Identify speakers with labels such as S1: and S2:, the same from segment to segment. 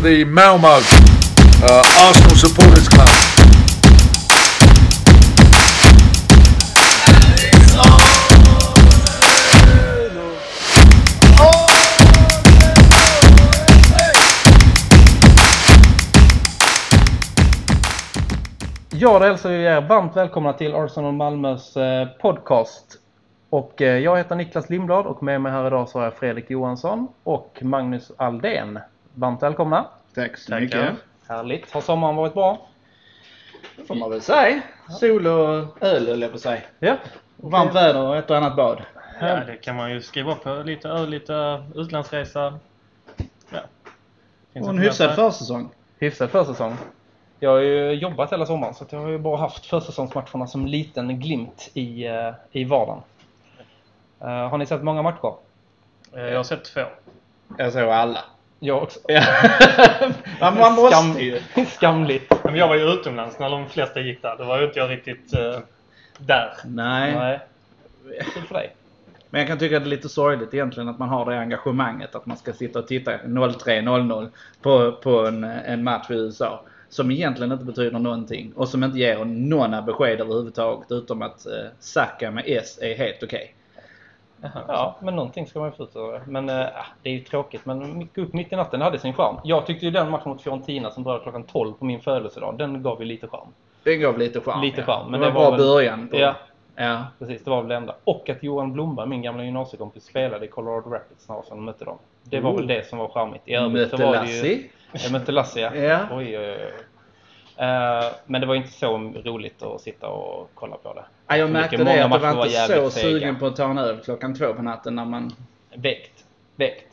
S1: the Malmo uh, Arsenal Supporters Club.
S2: Jag hälsar er varmt välkomna till Arsenal Malmös eh, podcast. Och eh, jag heter Niklas Lindblad och med mig här idag så har jag Fredrik Johansson och Magnus Aldén. Varmt välkomna!
S3: Tack så mycket.
S2: Härligt! Har sommaren varit bra?
S3: Det får man väl säga. Sol och öl höll jag på att säga.
S2: Ja,
S3: Och varmt väder och ett och annat bad.
S4: Ja, det kan man ju skriva på. Lite öl, lite utlandsresa. Ja. Finns
S3: Och en
S4: inte
S3: hyfsad
S4: mer.
S3: försäsong.
S2: hyfsad försäsong. Jag har ju jobbat hela sommaren så att jag har ju bara haft försäsongsmatcherna som liten glimt i, eh, i vardagen. Eh, Har ni sett många matcher?
S4: Eh, Jag har sett två.
S3: Jag såg alla.
S2: Jag också.
S3: Ja. man, man måste ju.
S2: Skamligt!
S4: Men jag var ju utomlands när de flesta gick där. Då var ju inte jag riktigt eh, där.
S3: Nej.
S2: Nej. Kul för dig.
S3: Men jag kan tycka det är lite sorgligt egentligen att man har det engagemanget att man ska sitta och titta 03.00 på, på en, en match i USA. Som egentligen inte betyder någonting och som inte ger några besked överhuvudtaget utom att eh, Saka med S är helt okej.
S2: Ja, men någonting ska man ju få ut av det. Men eh, det är ju tråkigt. Men gå upp mitt i natten hade sin charm. Jag tyckte ju den matchen mot Fiorentina som började klockan 12 på min födelsedag, den gav ju lite charm.
S3: Den gav lite charm.
S2: Lite
S3: ja.
S2: charm, men det
S3: det var en bra
S2: var väl-
S3: början. På,
S2: Ja.
S3: ja.
S2: Precis, det var väl det enda. Och att Johan Blomberg, min gamla gymnasiekompis, spelade i Colorado Rapids när Arsenal mötte dem. Det var
S3: Oh.
S2: väl det som var charmigt. I övrigt
S3: Mötte
S2: så var det ju...
S3: Lassie.
S2: Jag mötte Lassie, ja.
S3: Ja.
S2: Oj, oj, oj. Eh, men det var ju inte så roligt att sitta och kolla på det.
S3: Ja, jag
S2: Så
S3: märkte
S2: mycket. Många
S3: det att jag
S2: matcher
S3: var inte så
S2: jävligt
S3: sugen
S2: sega.
S3: på att ta en öl klockan två på natten när man...
S2: Väckt. Väckt.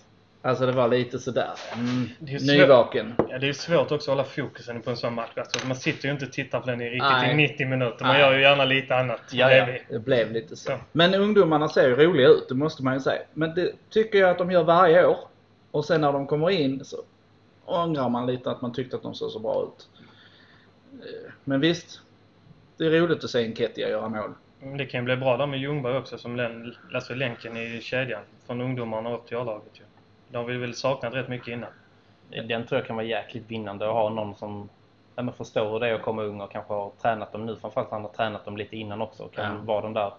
S3: Alltså det var lite sådär. Mm.
S4: Det är ju
S3: Nyvaken.
S4: Ja, det är ju svårt också att hålla fokusen på en sån match. Alltså, man sitter ju inte och tittar på den i riktigt
S3: Nej.
S4: i 90 minuter. Man
S3: Nej.
S4: gör ju gärna lite annat.
S2: Ja, ja.
S4: bredvid.
S3: Det blev lite så.
S4: Ja.
S3: Men ungdomarna ser ju roliga ut, det måste man ju säga. Men det tycker jag att de gör varje år. Och sen när de kommer in så ångrar man lite att man tyckte att de såg så bra ut. Eh, Men visst. Det är roligt att se Enketia göra mål.
S4: Men Det kan ju bli bra där med Ljungberg också som län, alltså länken i kedjan. Från ungdomarna upp till A-laget ju. De har vi väl saknat rätt mycket innan.
S2: Den tror jag kan vara jäkligt vinnande att ha någon som ja, men förstår hur det är att komma ung och kanske har tränat dem nu. Framförallt han har tränat dem lite innan också. Och kan
S3: Ja.
S2: vara den där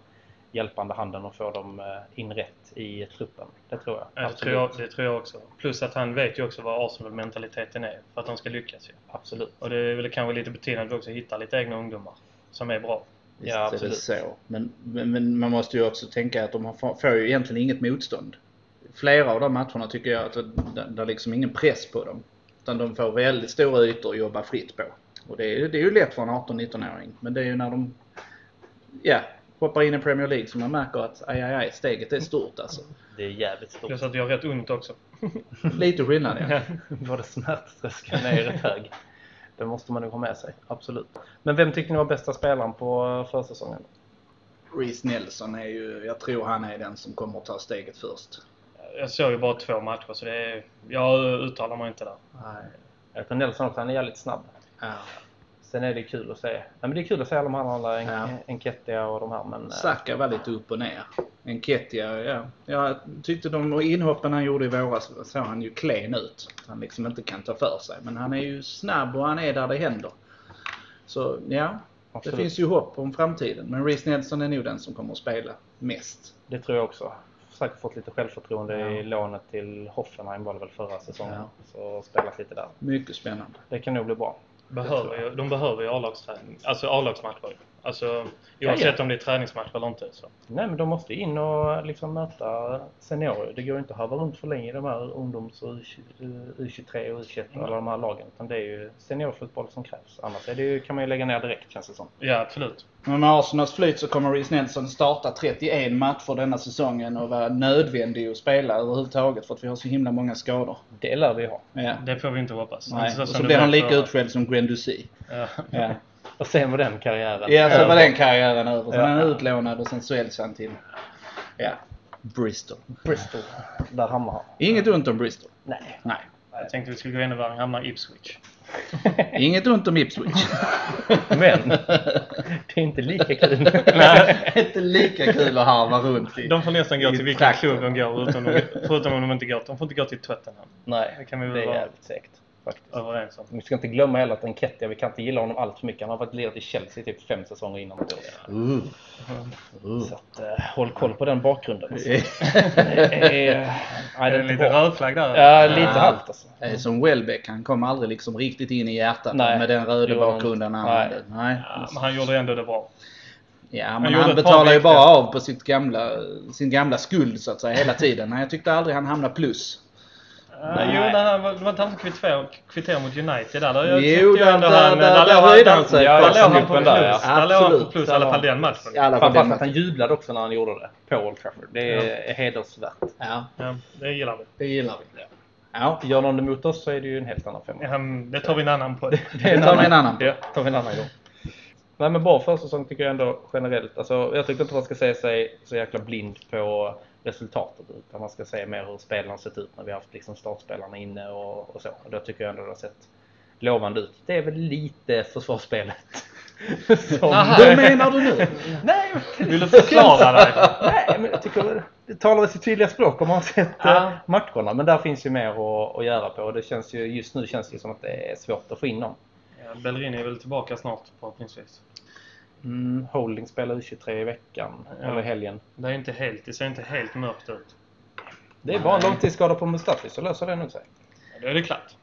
S2: hjälpande handen och få dem eh, in rätt i truppen. Det tror jag.
S4: Ja, Det tror, jag, det tror jag också. Plus att han vet ju också vad Arsenal-mentaliteten är för att de ska lyckas ju.
S2: Absolut.
S4: Och det är väl kanske lite på tiden att vi också hittar lite egna ungdomar som är bra.
S3: Visst
S2: Ja,
S3: är det
S2: absolut.
S3: så. Men, men, men man måste ju också tänka att de har- får, får ju egentligen inget motstånd. Flera av de matcherna tycker jag att det, det, det är liksom ingen press på dem. Utan de får väldigt stora ytor att jobba fritt på. Och det är, ju- det är ju lätt för en 18-19-åring. Men det är ju när de ja, hoppar in i Premier League som man märker att aj, aj, aj, steget är stort alltså.
S2: Det är jävligt stort.
S4: Plus att vi har rätt ont också.
S3: Lite skillnad ja.
S2: Både smärttröskeln är rätt hög. Det måste man nog ha med sig. Absolut. Men vem tyckte ni var bästa spelaren på eh, försäsongen?
S3: Reece Nelson är ju, jag tror han är den som kommer att ta steget först.
S4: Jag såg ju bara två matcher så det är, jag uttalar mig inte där.
S3: Nej.
S2: Jag tror Nelson också. Han är jävligt snabb.
S3: Ja.
S2: Sen är det kul att se. Nej, men det är kul att se alla de här andra. En,
S3: Ja.
S2: Enketia och de här. Men, eh,
S3: Saka var lite upp och ner. Enketia, ja. Jag tyckte de och inhoppen han gjorde i våras såg han ju klen ut. Han liksom inte kan ta för sig. Men han är ju snabb och han är där det händer. Så ja,
S2: Absolut.
S3: det finns ju hopp om framtiden. Men Reece Nelson är nog den som kommer att spela mest.
S2: Det tror jag också. Säkert fått lite självförtroende
S3: Ja.
S2: i lånet till Hoffenheim var det väl förra säsongen.
S3: Ja.
S2: Så spelat lite där.
S3: Mycket spännande.
S2: Det kan nog bli bra.
S4: Behöver ju, de behöver ju A-lagsträning. Alltså A-lagsmatcher. Alltså,
S2: ja.
S4: oavsett om det är träningsmatcher eller inte. Så.
S2: Nej men de måste in och liksom möta seniorer. Det går ju inte att hava runt för länge i de här ungdoms och U20 U23 och U21 och alla de här lagen. Utan det är ju seniorfotboll som krävs. Annars är det ju, kan man ju lägga ner direkt känns det som.
S4: Ja, absolut.
S3: Men med Arsenals flyt så kommer Reece Nelson starta 31 matcher denna säsongen och vara nödvändig att spela överhuvudtaget för att vi har så himla många skador.
S2: Det lär vi ha.
S3: Ja.
S4: Det får vi inte hoppas.
S3: Nej.
S4: Inte
S3: Och så
S4: som det
S3: blir han
S4: blev
S3: lika
S4: förra-
S3: utskälld som Guendouzi.
S4: Ja.
S3: Ja.
S2: Och sen var den karriären.
S3: Ja, så
S2: över.
S3: var den karriären över. Sen
S2: Ja.
S3: är han utlånad och sen säljs han till ja, Bristol.
S2: Bristol. Där hamnar han.
S3: Inget ont om Bristol.
S2: Nej.
S3: Nej.
S4: Jag tänkte vi skulle gå ännu värre. Hamna i Ipswich.
S3: Inget ont om Ipswich.
S2: Men det är inte lika kul. Nej.
S3: Inte lika kul att harva runt i.
S4: De får nästan gå
S3: I
S4: till vilken
S3: trakten.
S4: klubb de går utom de, förutom om de inte går. De får inte gå till Tottenham.
S2: Nej,
S4: Det kan vi väl
S2: det är
S4: vara.
S2: jävligt säkert. faktiskt.
S4: överens om.
S2: Vi ska inte glömma heller att Enketia, vi kan inte gilla honom allt för mycket. Han har varit ledare i Chelsea typ fem säsonger innan han tog det.
S3: Uh.
S2: Så att, eh, håll koll på den bakgrunden. Alltså. Eh, nej, det
S4: Är
S2: är
S4: det en
S2: inte
S4: liten
S2: bra.
S4: rödflagg där?
S2: Ja, lite
S3: Ja.
S2: halvt alltså.
S3: Eh, Som Welbeck, han kom aldrig liksom riktigt in i hjärtat
S2: Nej,
S3: med den röda
S2: gjorde han
S3: bakgrunden han
S2: inte.
S3: hade. Nej.
S4: Ja, men han gjorde ändå det bra.
S3: Ja,
S4: Han
S3: men han,
S4: gjorde ett par
S3: betalar ju
S4: viktiga-
S3: bara av på sitt gamla, sin gamla skuld så att säga hela tiden. Nej, jag tyckte aldrig han hamnade plus.
S4: Nej. Eh, Jo, när han var det var inte han som kvitterade kvitter mot United där. där
S3: Jo,
S4: tyckte jag ändå
S3: där- där-
S4: han-
S3: där- där
S4: låg
S3: höjde han sig
S4: Där
S2: på
S4: låg han på
S2: snuppen
S4: plus.
S2: där, ja.
S4: Där låg han på
S3: Absolut.
S4: plus i
S3: Där
S4: alla
S3: var
S4: fall
S3: han.
S4: den matchen.
S3: I alla fall
S2: Framförallt
S3: den
S2: att han jublade också när han gjorde det på Old Trafford. Det är hedersvärt.
S3: Ja,
S4: Ja, det gillar vi.
S3: det gillar vi. Ja,
S2: Gör någon det mot oss så är det ju en helt annan femma.
S4: Ja, Det tar vi en annan podd.
S3: det tar vi en annan.
S2: Ja, tar vi en annan gång. Nej men bra försäsong tycker jag ändå generellt. Alltså, jag tycker inte man ska se sig så jäkla blind på resultatet utan man ska se mer hur spelarna sett ut när vi har haft liksom startspelarna inne och, och så. Och då tycker jag ändå det har sett lovande ut. Det är väl lite försvarsspelet. som...
S3: Hur menar du nu?
S2: Nej,
S4: Vill du förklara dig?
S2: Nej, men jag tycker det talar sitt tydliga språk om man har sett
S3: Ja.
S2: eh, matcherna. Men där finns ju mer att, att göra på. Och det känns ju, just nu känns det ju som att det är svårt att få in dem.
S4: Ja, Bellerini är väl tillbaka snart förhoppningsvis.
S2: Mm, Holding spelar U23 i veckan,
S4: Ja.
S2: eller helgen.
S4: Det, är inte helt, det ser inte helt mörkt ut.
S2: Det är bara en
S3: Nej.
S2: långtidsskada på Mustafi så löser det nog sig.
S4: Ja, Då är det klart.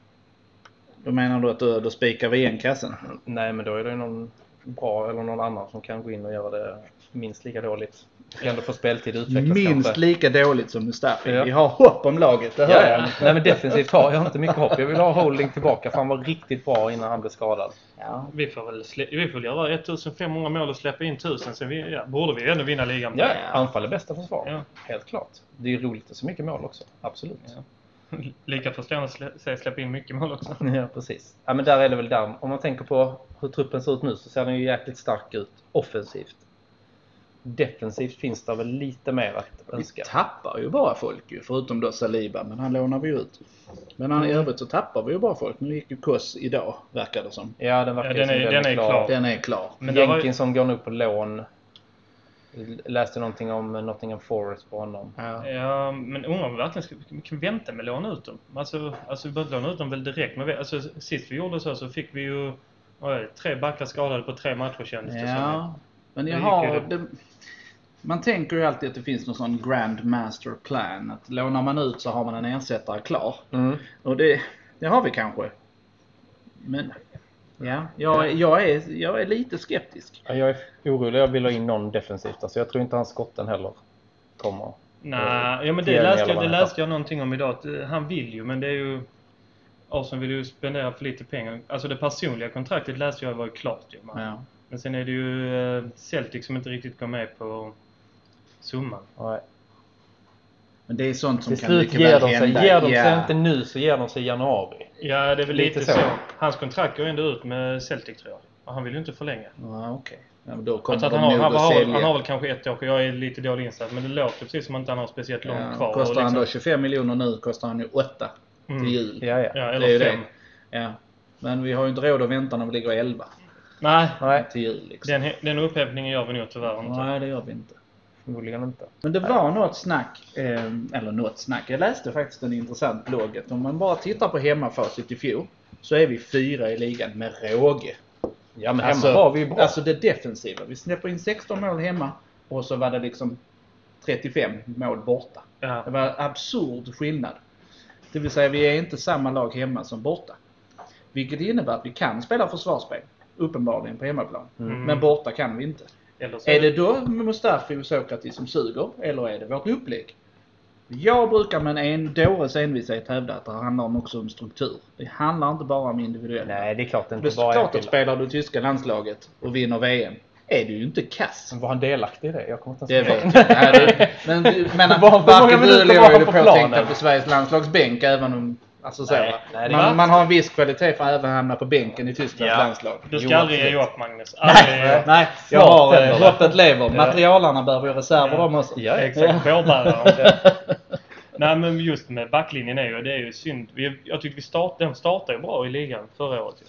S3: Då menar du att då, då spikar vi igen kassen?
S2: Nej, men då är det ju någon bra eller någon annan som kan gå in och göra det minst lika dåligt. Ska ändå få speltid och utvecklas
S3: Minst
S2: kanske.
S3: lika dåligt som Mustafi.
S2: Ja.
S3: Vi har hopp om laget, det hör
S2: Ja,
S3: jag.
S2: ja. Nej men defensivt har jag inte mycket hopp. Jag vill ha Holding tillbaka för han var riktigt bra innan han blev skadad.
S3: Ja.
S4: Vi får väl slä- vi får väl göra 1500 mål och släppa in 1000 så vi, ja, borde vi ändå vinna ligan.
S2: Ja, anfall är bästa försvar.
S4: Ja.
S2: Helt klart. Det är ju roligt att se mycket mål också. Absolut.
S4: Ja. Lika förstående slä- säga släppa in mycket mål också.
S2: Ja, precis. Ja, men där är det väl där. Om man tänker på hur truppen ser ut nu så ser den ju jäkligt stark ut offensivt. Defensivt finns det väl lite mer att
S3: Vi
S2: önska.
S3: tappar ju bara folk ju, förutom då Saliba, men han lånar vi ju ut. Men han, i övrigt så tappar vi ju bara folk. Nu gick ju Koss idag, verkar det som.
S2: Ja, den verkar
S4: Ja,
S2: ju
S4: den
S2: som
S4: är- den är klar.
S3: Den är klar.
S4: Men det var ju,
S2: Jenkinson går nu på lån. Läste någonting om Nottingham Forest på honom.
S3: Ja.
S4: ja, men undrar om vi verkligen ska, vi kan vänta med att låna ut dem. Alltså, alltså vi behöver inte låna ut dem väl direkt. Men vi, alltså, sist vi gjorde så så fick vi ju oj, tre backar skadade på tre matcher kändes det som.
S3: Ja, men jag
S4: Det gick ju
S3: har...
S4: det.
S3: Det, man tänker ju alltid att det finns någon sån grand master plan. Att lånar man ut så har man en ersättare klar.
S4: Mm.
S3: Och det, det har vi kanske. Men ja, jag, jag, är, jag är lite skeptisk.
S2: Ja, Jag är orolig. Jag vill ha in någon defensivt. Alltså, jag tror inte hans skotten heller kommer.
S4: Nej, ja, men det
S2: Tierney
S4: läste,
S2: eller vad
S4: jag, det
S2: han heter.
S4: läste jag någonting om idag. Att eh, han vill ju, men det är ju... Arsenal vill ju spendera för lite pengar. Alltså det personliga kontraktet läste jag var ju klart ju. Man.
S3: Ja.
S4: Men sen är det ju eh, Celtic som inte riktigt går med på summan.
S2: Nej.
S3: Men det är sånt som
S2: Till
S3: kan
S2: slut
S3: mycket
S2: ger
S3: väl
S2: de sig.
S3: hända.
S2: Ger de sig
S3: Ja.
S2: inte nu så ger de sig i januari.
S4: Ja, det är väl lite,
S2: Lite
S4: så.
S2: så.
S4: Hans kontrakt går ändå ut med Celtic tror jag. Och han vill ju inte förlänga.
S3: Ja, okej. Ja, men då
S4: Jag
S3: kommer
S4: tror att
S3: de
S4: han, har,
S3: nog
S4: han,
S3: att
S4: har,
S3: sälja.
S4: han har väl kanske ett år och jag är lite dålig insatt. Men det låter precis som att han har speciellt långt
S3: ja,
S4: kvar. och
S3: kostar han
S4: liksom-
S3: då 25 miljoner nu kostar han ju 8
S4: Mm.
S3: till jul.
S2: Ja, ja.
S4: Ja,
S3: det är ju
S4: eller fem.
S3: det. Ja. Men vi har ju inte råd att vänta när vi ligger 11
S4: Nej,
S2: Nej,
S3: till jul. Liksom.
S4: den, den upphämtningen gör vi nog tyvärr inte.
S3: Nej, det gör vi inte.
S2: förmodligen inte.
S3: Men det var något snack, eh, eller något snack. Jag läste faktiskt en intressant blogg att om man bara tittar på hemmafacit i fjol så är vi fyra i ligan med råge.
S2: Ja, men hemma
S3: Alltså,
S2: var vi ju bra.
S3: alltså det defensiva. Vi släpper in 16 mål hemma och så var det liksom 35 mål borta.
S4: Ja.
S3: Det var absurd skillnad. Det vill säga vi är inte samma lag hemma som borta. Vilket innebär att vi kan spela försvarsspel, uppenbarligen på hemmaplan.
S4: Mm.
S3: Men borta kan vi inte.
S4: Eller så
S3: Är det då Mustafi och Sokratis som suger eller är det vårt upplägg? Jag brukar med en dåres envishet hävda att det handlar om också om struktur. Det handlar inte bara om individuellt.
S2: Nej, det är klart det
S3: Det
S2: inte
S3: är
S2: bara
S3: klart att
S2: enskilda.
S3: spelar du tyska landslaget och vinner VM är du ju inte kass.
S2: Men Var han delaktig i det? Jag kommer inte
S3: Det
S2: ens
S3: vet jag. Nej, det- Men, du- men
S2: Var- hur många
S3: varken du
S2: minuter
S3: eller
S2: var
S3: jag
S2: han
S3: är
S2: på
S3: påtänkta
S2: planen?
S3: på Sveriges landslagsbänk även om... Alltså så,
S2: Nej,
S3: va?
S2: nej, det är
S3: man,
S2: klart.
S3: man har en viss kvalitet för att även hamna på bänken i Tysklands
S2: Ja.
S3: landslag.
S4: Du ska
S2: Jo,
S4: aldrig ge
S2: absolut.
S4: upp Magnus. Aldrig eh, ge upp.
S3: Nej, jag
S2: Snart
S3: har
S2: händer
S3: eh,
S2: det.
S3: hoppet lever. Materialarna behöver ju reserver
S4: Ja.
S3: de också.
S2: Ja,
S4: Exakt, bårbärare. Nej men just med backlinjen är ju, det är ju synd. Vi, jag tycker vi start, den startade ju bra i ligan förra året. ju.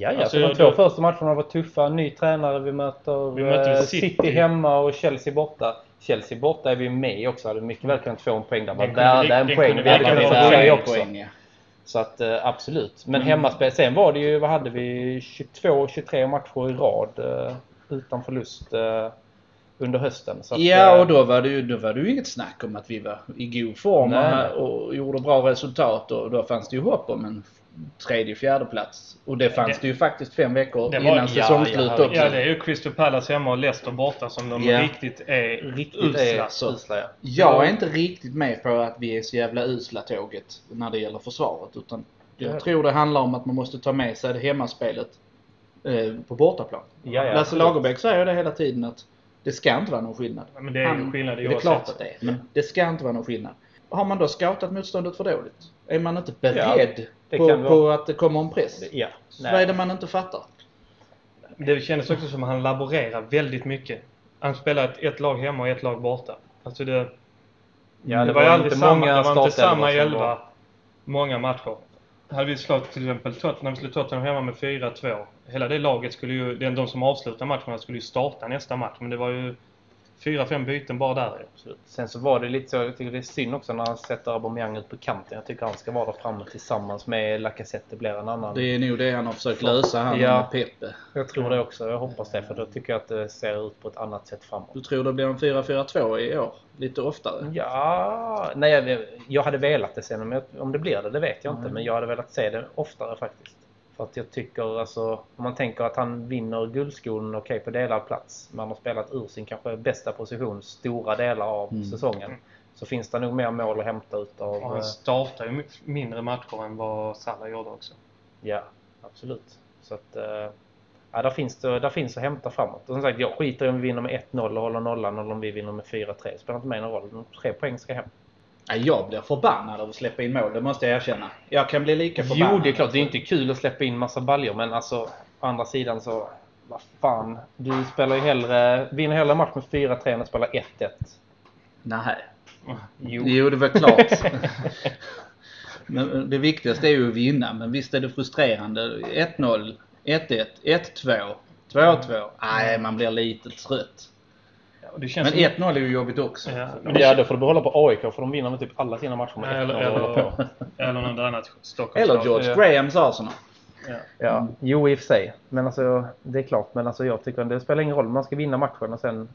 S2: Ja, ja.
S4: Alltså,
S2: så de
S4: jag-
S2: två
S4: jag-
S2: första matcherna var tuffa. Ny tränare, vi möter,
S4: Vi möter
S2: eh,
S4: City.
S2: City. hemma och Chelsea borta. Chelsea borta är vi med också. Hade mycket väl kunnat få en poäng där. Var
S4: Den kunde vi-
S2: värda en
S4: den
S2: poäng.
S4: kunde
S2: Vi
S4: vi
S2: hade
S4: lika
S2: kunnat
S4: väl
S2: få
S4: få
S2: tre
S4: en
S2: också.
S4: Mm.
S3: ja.
S2: Så att eh, absolut. Men hemmaspel. Sen var det ju, vad hade vi? 22-23 matcher i rad eh, utan förlust eh, under hösten. Så att,
S3: Ja,
S2: eh,
S3: och då var, det ju, då var det ju inget snack om att vi var i god form
S2: Nej.
S3: och- och gjorde bra resultat och då fanns det ju hopp om en tredje, fjärde plats. Och det fanns det,
S4: det-
S3: ju faktiskt fem veckor
S4: det var-
S3: innan
S4: ja,
S3: säsongslut
S2: ja,
S3: också.
S4: Ja, det är ju Crystal Palace hemma och Leicester borta som de
S3: Ja.
S4: riktigt är
S2: riktigt
S4: usla.
S2: eh, är
S3: så.
S2: usla. ja.
S3: Jag är inte riktigt med på att vi är så jävla usla tåget när det gäller försvaret. Utan jag
S2: Ja.
S3: tror det handlar om att man måste ta med sig det hemmaspelet eh, på bortaplan.
S2: Ja, ja,
S3: Lasse
S2: absolut.
S3: Lagerbäck säger det hela tiden att det ska inte vara någon skillnad.
S4: Ja, men det är ju skillnad i
S3: Det är
S4: år
S3: klart
S4: sett.
S3: att det är, men
S2: Mm.
S3: det ska inte vara någon skillnad. Har man då scoutat motståndet för dåligt? Är man inte beredd
S2: det kan
S3: på,
S2: vara.
S3: på att det kommer en press?
S2: Ja,
S3: Vad är det man inte fattar?
S4: Det kändes också som att han laborerar väldigt mycket. Han spelar ett, ett lag hemma och ett lag borta. Alltså det,
S2: Ja,
S4: det,
S2: det
S4: var, ju
S2: var
S4: aldrig
S2: inte
S4: samma,
S2: många
S4: det var
S2: startelvor
S4: inte samma
S2: som
S4: elva
S2: var-
S4: många matcher. Hade vi slagit till exempel Tottenham, vi skulle Tottenham hemma med 4-2. Hela det laget skulle ju, den- de som avslutar matcherna skulle ju starta nästa match. Men det var ju fyra, fem byten bara där.
S2: Absolut. Sen så var det lite så, jag tycker det är synd också när han sätter Aubameyang ut på kanten. Jag tycker han ska vara där framme tillsammans med Lacazette. Det blir en annan.
S3: Det är nog det han har försökt lösa, han
S2: Ja.
S3: med Peppe.
S2: Jag tror det också. Jag hoppas det. För då tycker jag att det ser ut på ett annat sätt framåt.
S3: Du tror det blir en 4-4-2 i år? Lite oftare?
S2: Ja, nej, jag, jag hade velat det sen. Om, jag, om det blir det, det vet jag inte. Men jag hade velat se det oftare faktiskt. För att jag tycker alltså, om man tänker att han vinner guldskolan okej på delad plats. Men han har spelat ur sin kanske bästa position stora delar av
S3: Mm.
S2: säsongen. Så finns det nog mer mål att hämta utav...
S4: Och
S2: eh,
S4: han startar ju mi- mindre matcher än vad Salah gjorde också.
S2: eh, Ja, absolut. Så att, eh, ja, där, finns det, där finns att hämta framåt. Och som sagt, jag skiter i om vi vinner med 1-0 och håller nollan eller om vi vinner med 4-3. Det spelar inte mig någon roll. De Tre poäng ska hem.
S3: Ja, jag blir förbannad av att släppa in mål, det måste jag erkänna. Jag kan bli lika förbannad.
S2: Jo, det är klart. Det är inte kul att släppa in massa baljor, men alltså å andra sidan så... Vad fan. Du spelar ju hellre, vinner hellre en match med 4-3 än att spela 1-1.
S3: Nej.
S2: Jo.
S3: Jo, det var klart. men det viktigaste är ju att vinna, men visst är det frustrerande. 1-0, 1-1, 1-2, 2-2. Nej, man blir lite trött.
S4: Ja, och det
S3: Men
S4: känns som-
S3: 1-0 är ju jobbigt också.
S4: Ja, men det
S2: Ja, då får du behålla på AIK för de vinner med typ alla sina matcher med
S4: Eller,
S2: 1-0 och
S4: eller,
S2: håller på.
S4: eller något annat Stockholm.
S3: Eller George
S4: Ja.
S3: Grahams Arsenal.
S4: Ja.
S2: Ja, jo i och för sig. Men alltså, det är klart. Men alltså, jag tycker det spelar ingen roll. Man ska vinna matchen och sen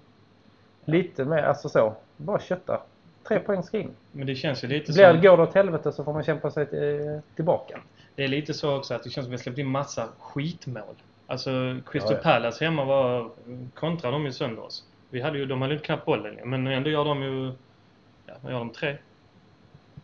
S2: lite mer, alltså så. Bara kötta. Tre poäng ska in.
S4: Men det känns ju lite
S2: Blir,
S4: som...
S2: går det åt helvete så får man kämpa sig eh, tillbaka.
S4: Det är lite så också att det känns som att vi har släppt in massa skitmål. Alltså Crystal
S2: Ja, ja.
S4: Palace hemma var... Kontrade de ju sönder oss. Vi hade ju, de hade ju knappt bollen ju, Men ändå gör de ju... Ja, vad gör de tre?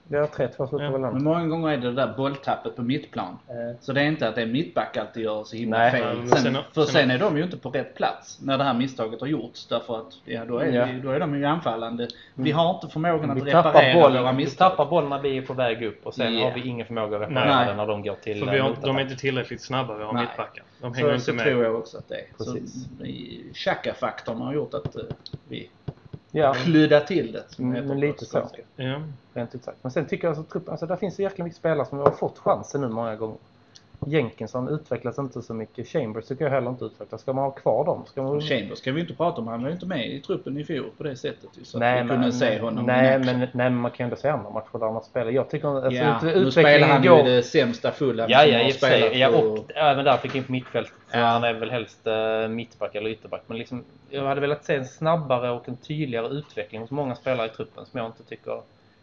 S2: Det är 3-2 slut
S4: Ja, Mm.
S2: på
S3: Men
S2: väl Eh,
S3: många gånger är det där bolltappet på mittplan. Så det är inte att det är mittback alltid gör så himla
S2: Nej.
S4: Ja,
S3: fel.
S4: men
S3: Sen,
S4: sen-
S3: för
S4: sen-
S3: sen är de ju inte på rätt plats när det här misstaget har gjorts. Därför att ja, då, är
S2: Ja.
S3: vi, då är de ju anfallande. Vi har inte förmågan att
S2: vi
S3: reparera
S2: tappar, boll,
S3: våra
S2: vi
S3: misstag.
S2: tappar boll när vi är på väg upp och sen
S3: Ja.
S2: har vi ingen förmåga att reparera
S4: Nej.
S2: den när de går till... eh,
S4: För vi har, de är inte tillräckligt snabba våra
S3: Nej.
S4: mittbackar. De hänger
S3: Så, så
S4: inte med.
S3: tror jag också att det är. Så
S2: Precis.
S3: i- Chaka-faktorn har gjort att eh, vi
S2: Ja,
S3: kludda till det. Som
S2: Mm,
S3: heter
S2: men
S3: på
S2: lite så.
S3: skånska.
S4: Ja.
S2: rent ut sagt. Men sen tycker jag alltså, truppen, alltså där finns så jäkla mycket spelare som har fått chansen nu många gånger. Jenkinson utvecklas inte så mycket. Chambers tycker jag heller inte utvecklas. Ska man ha kvar dem? Ska man...
S3: Och Chambers ska vi inte prata om. Han var ju inte med i truppen i fjol på det sättet. ju, Så
S2: Nej,
S3: att vi kunde
S2: men,
S3: se honom.
S2: nej,
S3: i matchen.
S2: men, nej, men man kan ju ändå se andra matcher där man spelar. Jag tycker alltså,
S3: ja,
S2: ut-
S3: nu spelar han
S2: utvecklingen
S3: ju
S2: går...
S3: det sämsta Fulham
S2: Ja,
S3: som
S2: ja,
S3: har
S2: i och för sig. Ja,
S3: på-
S2: och även där fick jag in på mittfält. Så
S3: Ja.
S2: Han är väl helst eh, mittback eller ytterback. Men liksom, jag hade velat se en snabbare och en tydligare utveckling hos många spelare i truppen som jag inte tycker...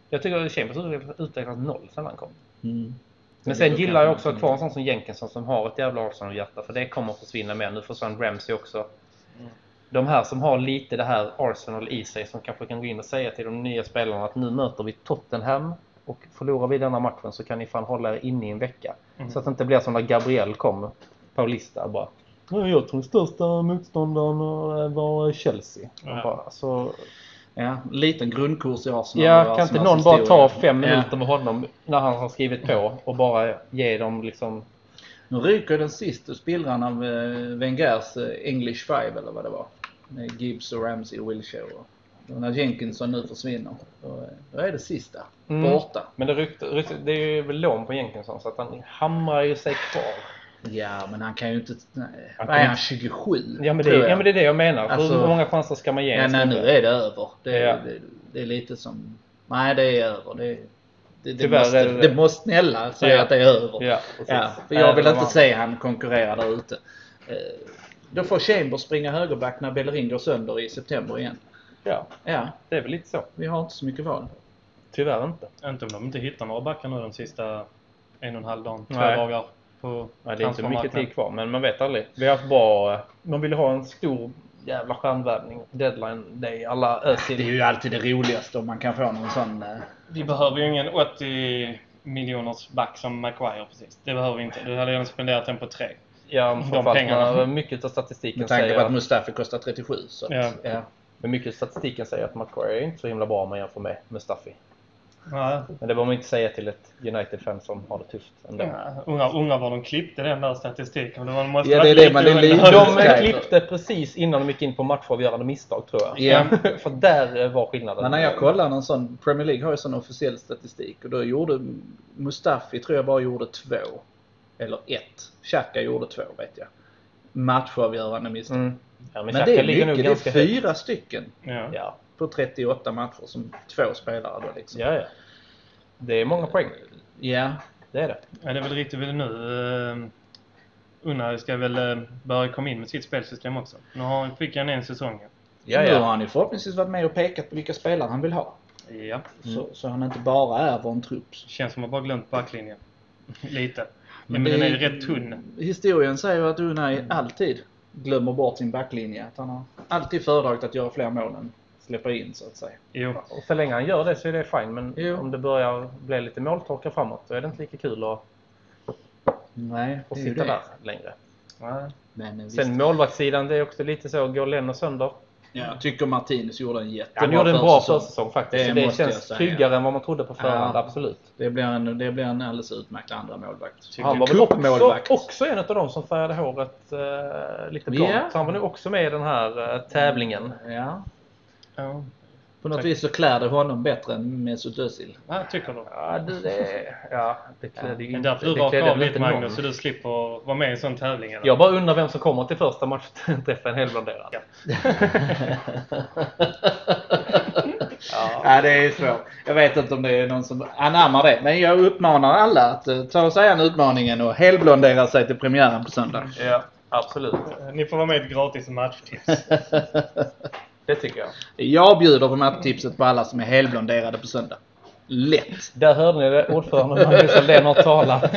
S2: Jag tycker att Chambers utvecklas- utvecklas noll sedan han kom.
S3: Mm.
S2: Men
S3: Det
S2: sen
S3: brukar
S2: gillar jag
S3: jag
S2: också att ha
S3: inte.
S2: kvar en sån som Jenkinson som har ett jävla Arsenal-hjärta. För det kommer att försvinna med. Nu försvann Ramsey också.
S3: Mm.
S2: De här som har lite det här Arsenal i sig som kanske kan gå in och säga till de nya spelarna att nu möter vi Tottenham och förlorar vi denna matchen så kan ni fan hålla er inne i en vecka.
S4: Mm.
S2: Så att det inte blir som när Gabriel kom, Paulista, bara "Ja, jag tror den största motståndaren eh, var Chelsea.
S4: Ja.
S2: Ja. Bara, så,
S3: Ja, liten grundkurs i Arsenal. och
S2: ja, kan inte
S3: Arsenals
S2: någon bara ta
S3: historia.
S2: fem
S3: Ja.
S2: minuter med honom när han har skrivit på och bara ge dem liksom
S3: Nu ryker den sista spillran av eh, Wengers eh, English Five eller vad det var. Med Gibbs och Ramsey och Wilshere. Och, och när Jenkinson nu försvinner, då, eh, då är det sista
S2: Mm.
S3: borta.
S2: Men det, rykte, rykte, det är ju väl lån på Jenkinson så att han hamrar ju sig kvar.
S3: Ja, men han kan ju inte... Nej.
S2: Han
S3: Vad är
S2: kommer-
S3: han 27?
S2: Ja men det,
S3: tror jag.
S2: ja, men det är det jag menar.
S3: Alltså-
S2: Hur många chanser ska man ge en
S3: Ja, nej, nu
S2: snubbe?
S3: är det över. Det, är-
S2: Ja.
S3: det, det är lite som... Nej, det är över. Det, är- Det, det,
S2: Tyvärr
S3: måste,
S2: är det det.
S3: det måste snälla säga
S2: Ja.
S3: att det är över.
S2: Ja, precis.
S3: Ja, för jag vill
S2: Även om
S3: inte
S2: han-
S3: se han konkurrera där ute. Eh, Då får Chambers springa högerback när Bellerin går sönder i september igen.
S2: Ja,
S3: Ja,
S2: det är väl lite så.
S3: vi har inte så mycket val.
S2: Tyvärr inte.
S4: Inte om de inte hittar några backar nu de sista en och en halv dagen, två
S2: Nej.
S4: dagar. På
S2: Nej, det är inte mycket
S4: transfermarknaden.
S2: tid kvar, men man vet aldrig. Vi har haft bra... Man ville ha en stor jävla stjärnvärvning. Deadline day. Alla
S3: Det är
S2: Özil.
S3: ju alltid det roligaste om man kan få någon sån... eh,
S4: Vi behöver ju ingen 80 miljoners back som Maguire precis. Det behöver vi inte. Du hade redan spenderat den på tre.
S2: Ja,
S4: De
S2: framförallt
S4: pengarna.
S2: när mycket av statistiken
S3: Med tanke
S2: säger
S3: på att
S2: att,
S3: Mustafi kostar 37. Så att,
S4: Ja.
S3: ja.
S2: men mycket av statistiken säger att Maguire är inte så himla bra om man jämför med Mustafi.
S4: Nej.
S2: Men det behöver man inte säga till ett United-fan som har det tufft ändå.
S4: Ja, Undrar undrar var de klippte den där statistiken. Det måste
S3: Ja,
S4: varit
S3: det är det,
S4: lite
S3: man är
S4: under-
S3: lite-
S2: De
S3: Ja.
S2: eh, klippte precis innan de gick in på matchavgörande misstag tror jag.
S3: Ja.
S2: För där eh, var skillnaden.
S3: Men när jag kollar någon sån, Premier League har ju sån officiell statistik och då gjorde Mustafi tror jag bara gjorde två. Eller ett. Xhaka gjorde två vet jag. Matchavgörande misstag.
S2: Mm. Ja, men,
S3: Men,
S2: Xhaka
S3: det
S2: ligger
S3: är
S2: nog
S3: mycket, det
S2: ganska
S3: är
S2: högt.
S3: fyra stycken
S4: Ja.
S2: Ja,
S3: på 38 matcher som två spelare då liksom.
S2: ja, ja. Det är många poäng.
S3: Ja.
S2: Det är det.
S4: Ja, det är väl riktigt väl nu. Uh, Unna ska väl eh, börja komma in med sitt spelsystem också. Nu har, fick han en säsong.
S2: Ja,
S3: Nu har
S2: ja.
S3: han ju förhoppningsvis varit med och pekat på vilka spelare han vill ha.
S4: Ja.
S3: Så, så han inte bara är vår en trupp.
S4: Känns som att man bara glömt backlinjen. Lite.
S3: Men
S4: Men, men den
S3: det-
S4: är ju rätt tunn.
S3: Historien säger att Unai alltid glömmer bort sin backlinje. Att han har alltid föredragit att göra fler mål än släppa in så att säga.
S4: Jo.
S2: Och så länge han gör det så är det fine. Men
S3: Jo.
S2: om det börjar bli lite måltorka framåt då är det inte lika kul att,
S3: Nej,
S2: att
S3: det är ju
S2: sitta
S3: det.
S2: där längre.
S4: Ja.
S3: Men eh, visst.
S2: Sen målvaktssidan, det är också lite så. Går Lennon sönder?
S3: Ja, jag tycker Martinus gjorde en jättebra
S2: Han gjorde en bra
S3: försäsong.
S2: försäsong faktiskt.
S3: Det
S2: så det
S3: måste jag
S2: känns
S3: säga.
S2: tryggare än vad man trodde på förhand,
S3: Ja.
S2: absolut.
S3: Det blir en, det blir en alldeles utmärkt andra målvakt.
S4: Tycker
S2: Han
S4: du
S2: var väl också,
S3: Cupmålvakt.
S2: också en av de som färgade håret eh, lite blont.
S3: Ja.
S2: Så han var nu också med i den här eh, tävlingen.
S3: Ja.
S4: Ja.
S3: På något
S4: Tack.
S3: vis så klär det honom bättre än Mesut Özil.
S4: Ja, tycker du.
S2: Ja, det, det, ja, det klädde ju
S4: Men
S2: inte,
S4: därför du
S2: det
S4: rakar
S2: klädde
S4: av
S2: väl
S4: lite
S2: inte någon.
S4: Magnus så du slipper vara med i en sån tävling. Eller?
S2: Jag bara undrar vem som kommer till första matchträffen helblonderad.
S4: Ja.
S2: Ja.
S3: Ja, det är svårt. Jag vet inte om det är någon som anammar det. Men jag uppmanar alla att eh, ta sig an utmaningen och helblondera sig till premiären på söndag.
S2: Ja, absolut.
S4: Ni får vara med i ett gratis matchtips.
S2: Det tycker jag.
S3: Jag bjuder på matchtipset på alla som är helblonderade på söndag. Lätt!
S2: Där hörde ni det. Ordförande Magnus Aldén har talat.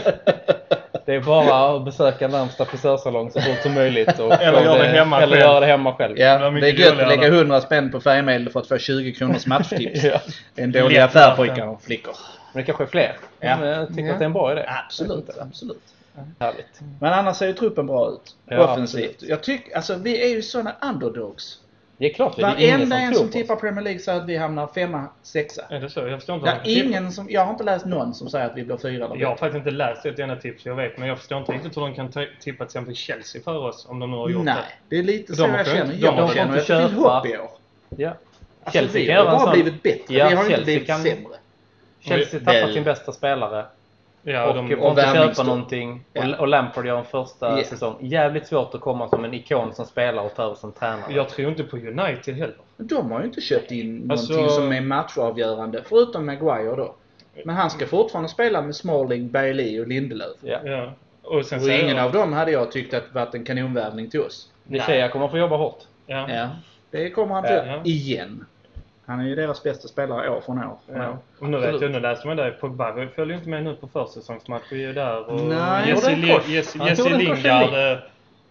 S2: Det är bara att besöka närmsta frisörsalong så fort som möjligt. Och
S4: Eller
S2: få
S4: göra det hemma
S2: eller
S4: själv.
S2: göra det hemma själv.
S3: Ja,
S4: Det var
S3: det är
S4: mycket
S3: gött att
S4: roligare.
S3: lägga 100 spänn på färgmedel för att få 20 kronors matchtips.
S2: Ja.
S3: Det är en dålig
S4: Lätt
S3: affär
S4: vatten.
S3: pojkar och flickor.
S2: Men det kanske är fler
S3: Ja.
S2: som eh, tycker
S3: Ja.
S2: att det är en bra idé.
S3: Absolut, absolut.
S2: Härligt.
S3: Men annars ser ju truppen bra ut.
S2: Ja,
S3: Offensivt.
S2: absolut.
S3: Jag tycker, alltså vi är ju såna underdogs.
S2: Det är klart, det är ingen
S3: Varenda
S2: som
S3: en
S2: tror
S3: som
S2: på oss.
S3: tippar Premier League säger att vi hamnar femma, sexa.
S4: är det så? Jag förstår inte.
S3: Det
S4: vad
S3: är
S4: de tippar.
S3: ingen som, jag har inte läst någon som säger att vi blir fyra eller
S4: Jag har faktiskt inte läst ett enda tips jag vet, men jag förstår inte riktigt hur de kan ta- tippa till exempel Chelsea för oss om de nu har gjort det.
S3: Nej, det är lite så
S4: De har
S3: jag
S4: fått-
S3: känner.
S4: de
S3: Jag
S4: har fått
S3: känner att det
S2: köpa-
S3: finns hopp i år.
S2: Ja.
S3: Alltså,
S2: Chelsea
S3: vi
S2: kan
S3: har
S2: göra en
S3: bara
S2: sån-
S3: blivit bättre.
S2: Ja,
S3: vi har inte
S2: Chelsea
S3: blivit
S2: kan-
S3: sämre.
S2: Chelsea tappar
S3: Väl-
S2: sin bästa spelare.
S4: Ja,
S2: Och
S4: de,
S2: får inte
S3: värvningsstopp.
S2: köpa någonting.
S3: Ja.
S2: Och, och Lampard gör en första
S3: Ja.
S2: säsong. Jävligt svårt att komma som en ikon som spelare och ta över som tränare.
S4: jag tror inte på United heller.
S3: De har ju inte köpt in
S4: Alltså-
S3: någonting som är matchavgörande. Förutom Maguire då. Men han ska fortfarande spela med Smalling, Bailey och Lindelöf.
S2: Ja.
S4: Ja. Och sen
S3: Och
S4: säger
S3: ingen
S4: de-
S3: av dem hade jag tyckt att varit en kanonvärvning till oss.
S2: Nichea kommer få jobba hårt.
S4: Ja.
S3: Ja. Det kommer han till.
S4: Ja.
S3: Igen. Han är ju deras bästa spelare år från år. Från
S4: Ja.
S3: år.
S4: Och nu vet
S2: Absolut.
S4: jag, nu läste man där Pogba vi följer ju inte med nu på försäsongsmatch. Vi är ju där och
S3: Nej.
S4: Jesse,
S2: Han tog
S4: Li-
S2: en kors.
S4: Jesse,
S2: Han
S4: Jesse
S2: tog en kors
S4: Lingard eh,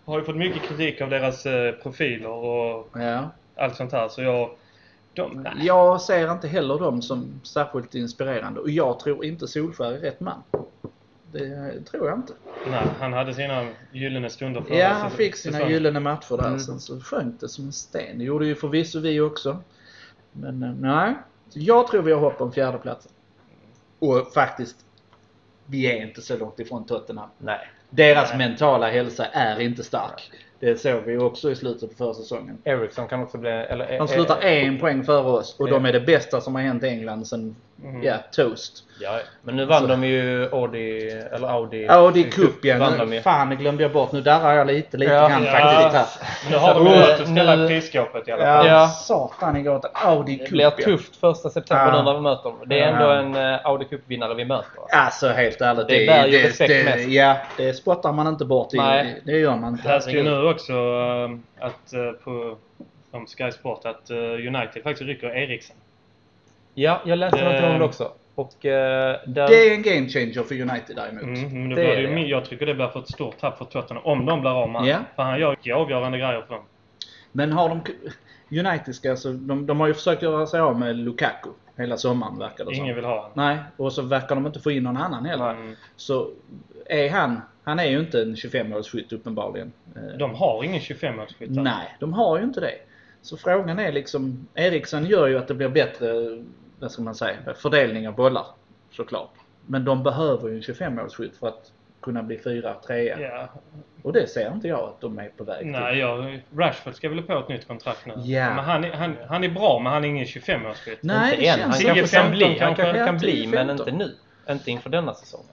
S4: har ju fått mycket kritik av deras eh, profiler och
S3: Ja.
S4: allt sånt här. Så jag... De, nej.
S3: Jag ser inte heller dem som särskilt inspirerande. Och jag tror inte Solskär är rätt man. Det tror jag inte.
S4: nej, han hade sina gyllene stunder förra
S3: Ja, han
S4: säsongen.
S3: fick sina gyllene matcher där.
S2: Mm.
S3: Sen så sjönk det som en sten. Det gjorde ju förvisso vi också. Men eh, nej. Så jag tror vi har hopp om fjärdeplatsen. Och faktiskt, vi är inte så långt ifrån Tottenham.
S2: Nej.
S3: Deras
S4: Nej.
S3: mentala hälsa är inte stark. Det såg vi ju också i slutet på försäsongen.
S2: Eriksson kan också bli... Eller,
S3: De slutar en poäng före oss och
S2: Eh, Ja.
S3: de är det bästa som har hänt England sedan
S4: Mm.
S3: Ja, toast.
S2: Ja, men nu vann de ju Audi, eller Audi...
S3: Alltså. Audi Cup ja.
S2: Vann de
S3: Nu,
S2: ju.
S3: fan, det glömde jag bort. Nu darrar jag lite, lite
S2: Ja.
S3: grann
S4: Ja.
S3: faktiskt här.
S4: Men nu har de ju
S2: Nu-
S4: rätt att ställa
S2: nu-
S4: i prisskåpet i alla fall.
S3: Ja,
S2: Ja.
S3: satan igår. att Audi
S2: Det
S3: Cup
S2: blir
S3: ja.
S2: tufft första september
S3: Ja.
S2: nu när vi möter dem. Det är
S3: Ja.
S2: ändå en eh, Audi Cup-vinnare vi möter.
S3: Alltså helt ärligt.
S2: Det
S3: är-
S2: bär ju respekt mest.
S3: Ja, det spottar man inte bort. I,
S2: Nej.
S3: Det gör man
S4: Jag
S3: inte.
S4: läste ju nu också ehm, att eh, på om Sky Sport att eh, United faktiskt rycker Eriksen.
S2: Ja, jag läste
S4: Det-
S2: något om det också. Och eh, där...
S3: Det är en game changer för United däremot.
S4: Mm, men då
S2: Det
S4: blir
S2: är
S4: det ju,
S2: det.
S4: min- jag tycker det blir för ett stort tapp för Tottenham om de blir av med
S3: Ja.
S4: För han gör ju avgörande grejer för dem.
S3: Men har de... United ska alltså... De, de har ju försökt göra sig av med Lukaku hela sommaren verkar det
S4: Ingen
S3: som.
S4: vill ha honom.
S3: Nej, och så verkar de inte få in någon annan heller.
S4: Mm.
S3: Så är han... Han är ju inte en 25-årsskytt uppenbarligen. Eh,
S4: De har ingen 25-årsskytt. här.
S3: Nej, de har ju inte det. Så frågan är liksom... Eriksen gör ju att det blir bättre, vad ska man säga, fördelning av bollar. Såklart. Men de behöver ju en 25-årsskytt för att kunna bli fyra, trea.
S4: Ja.
S3: Och det ser inte jag att de är på väg
S4: Nej, jag, Rashford ska väl på ett nytt kontrakt nu.
S3: Ja.
S4: Men han, är- han, han är bra, men han är ingen 25-årsskytt.
S3: Nej,
S2: inte
S3: det
S2: än.
S3: känns
S2: Han kanske
S3: inte.
S2: kan
S4: 10-15
S2: bli, han kanske
S3: kanske.
S2: kan bli men
S3: 10-15.
S2: inte nu. Inte inför denna säsongen.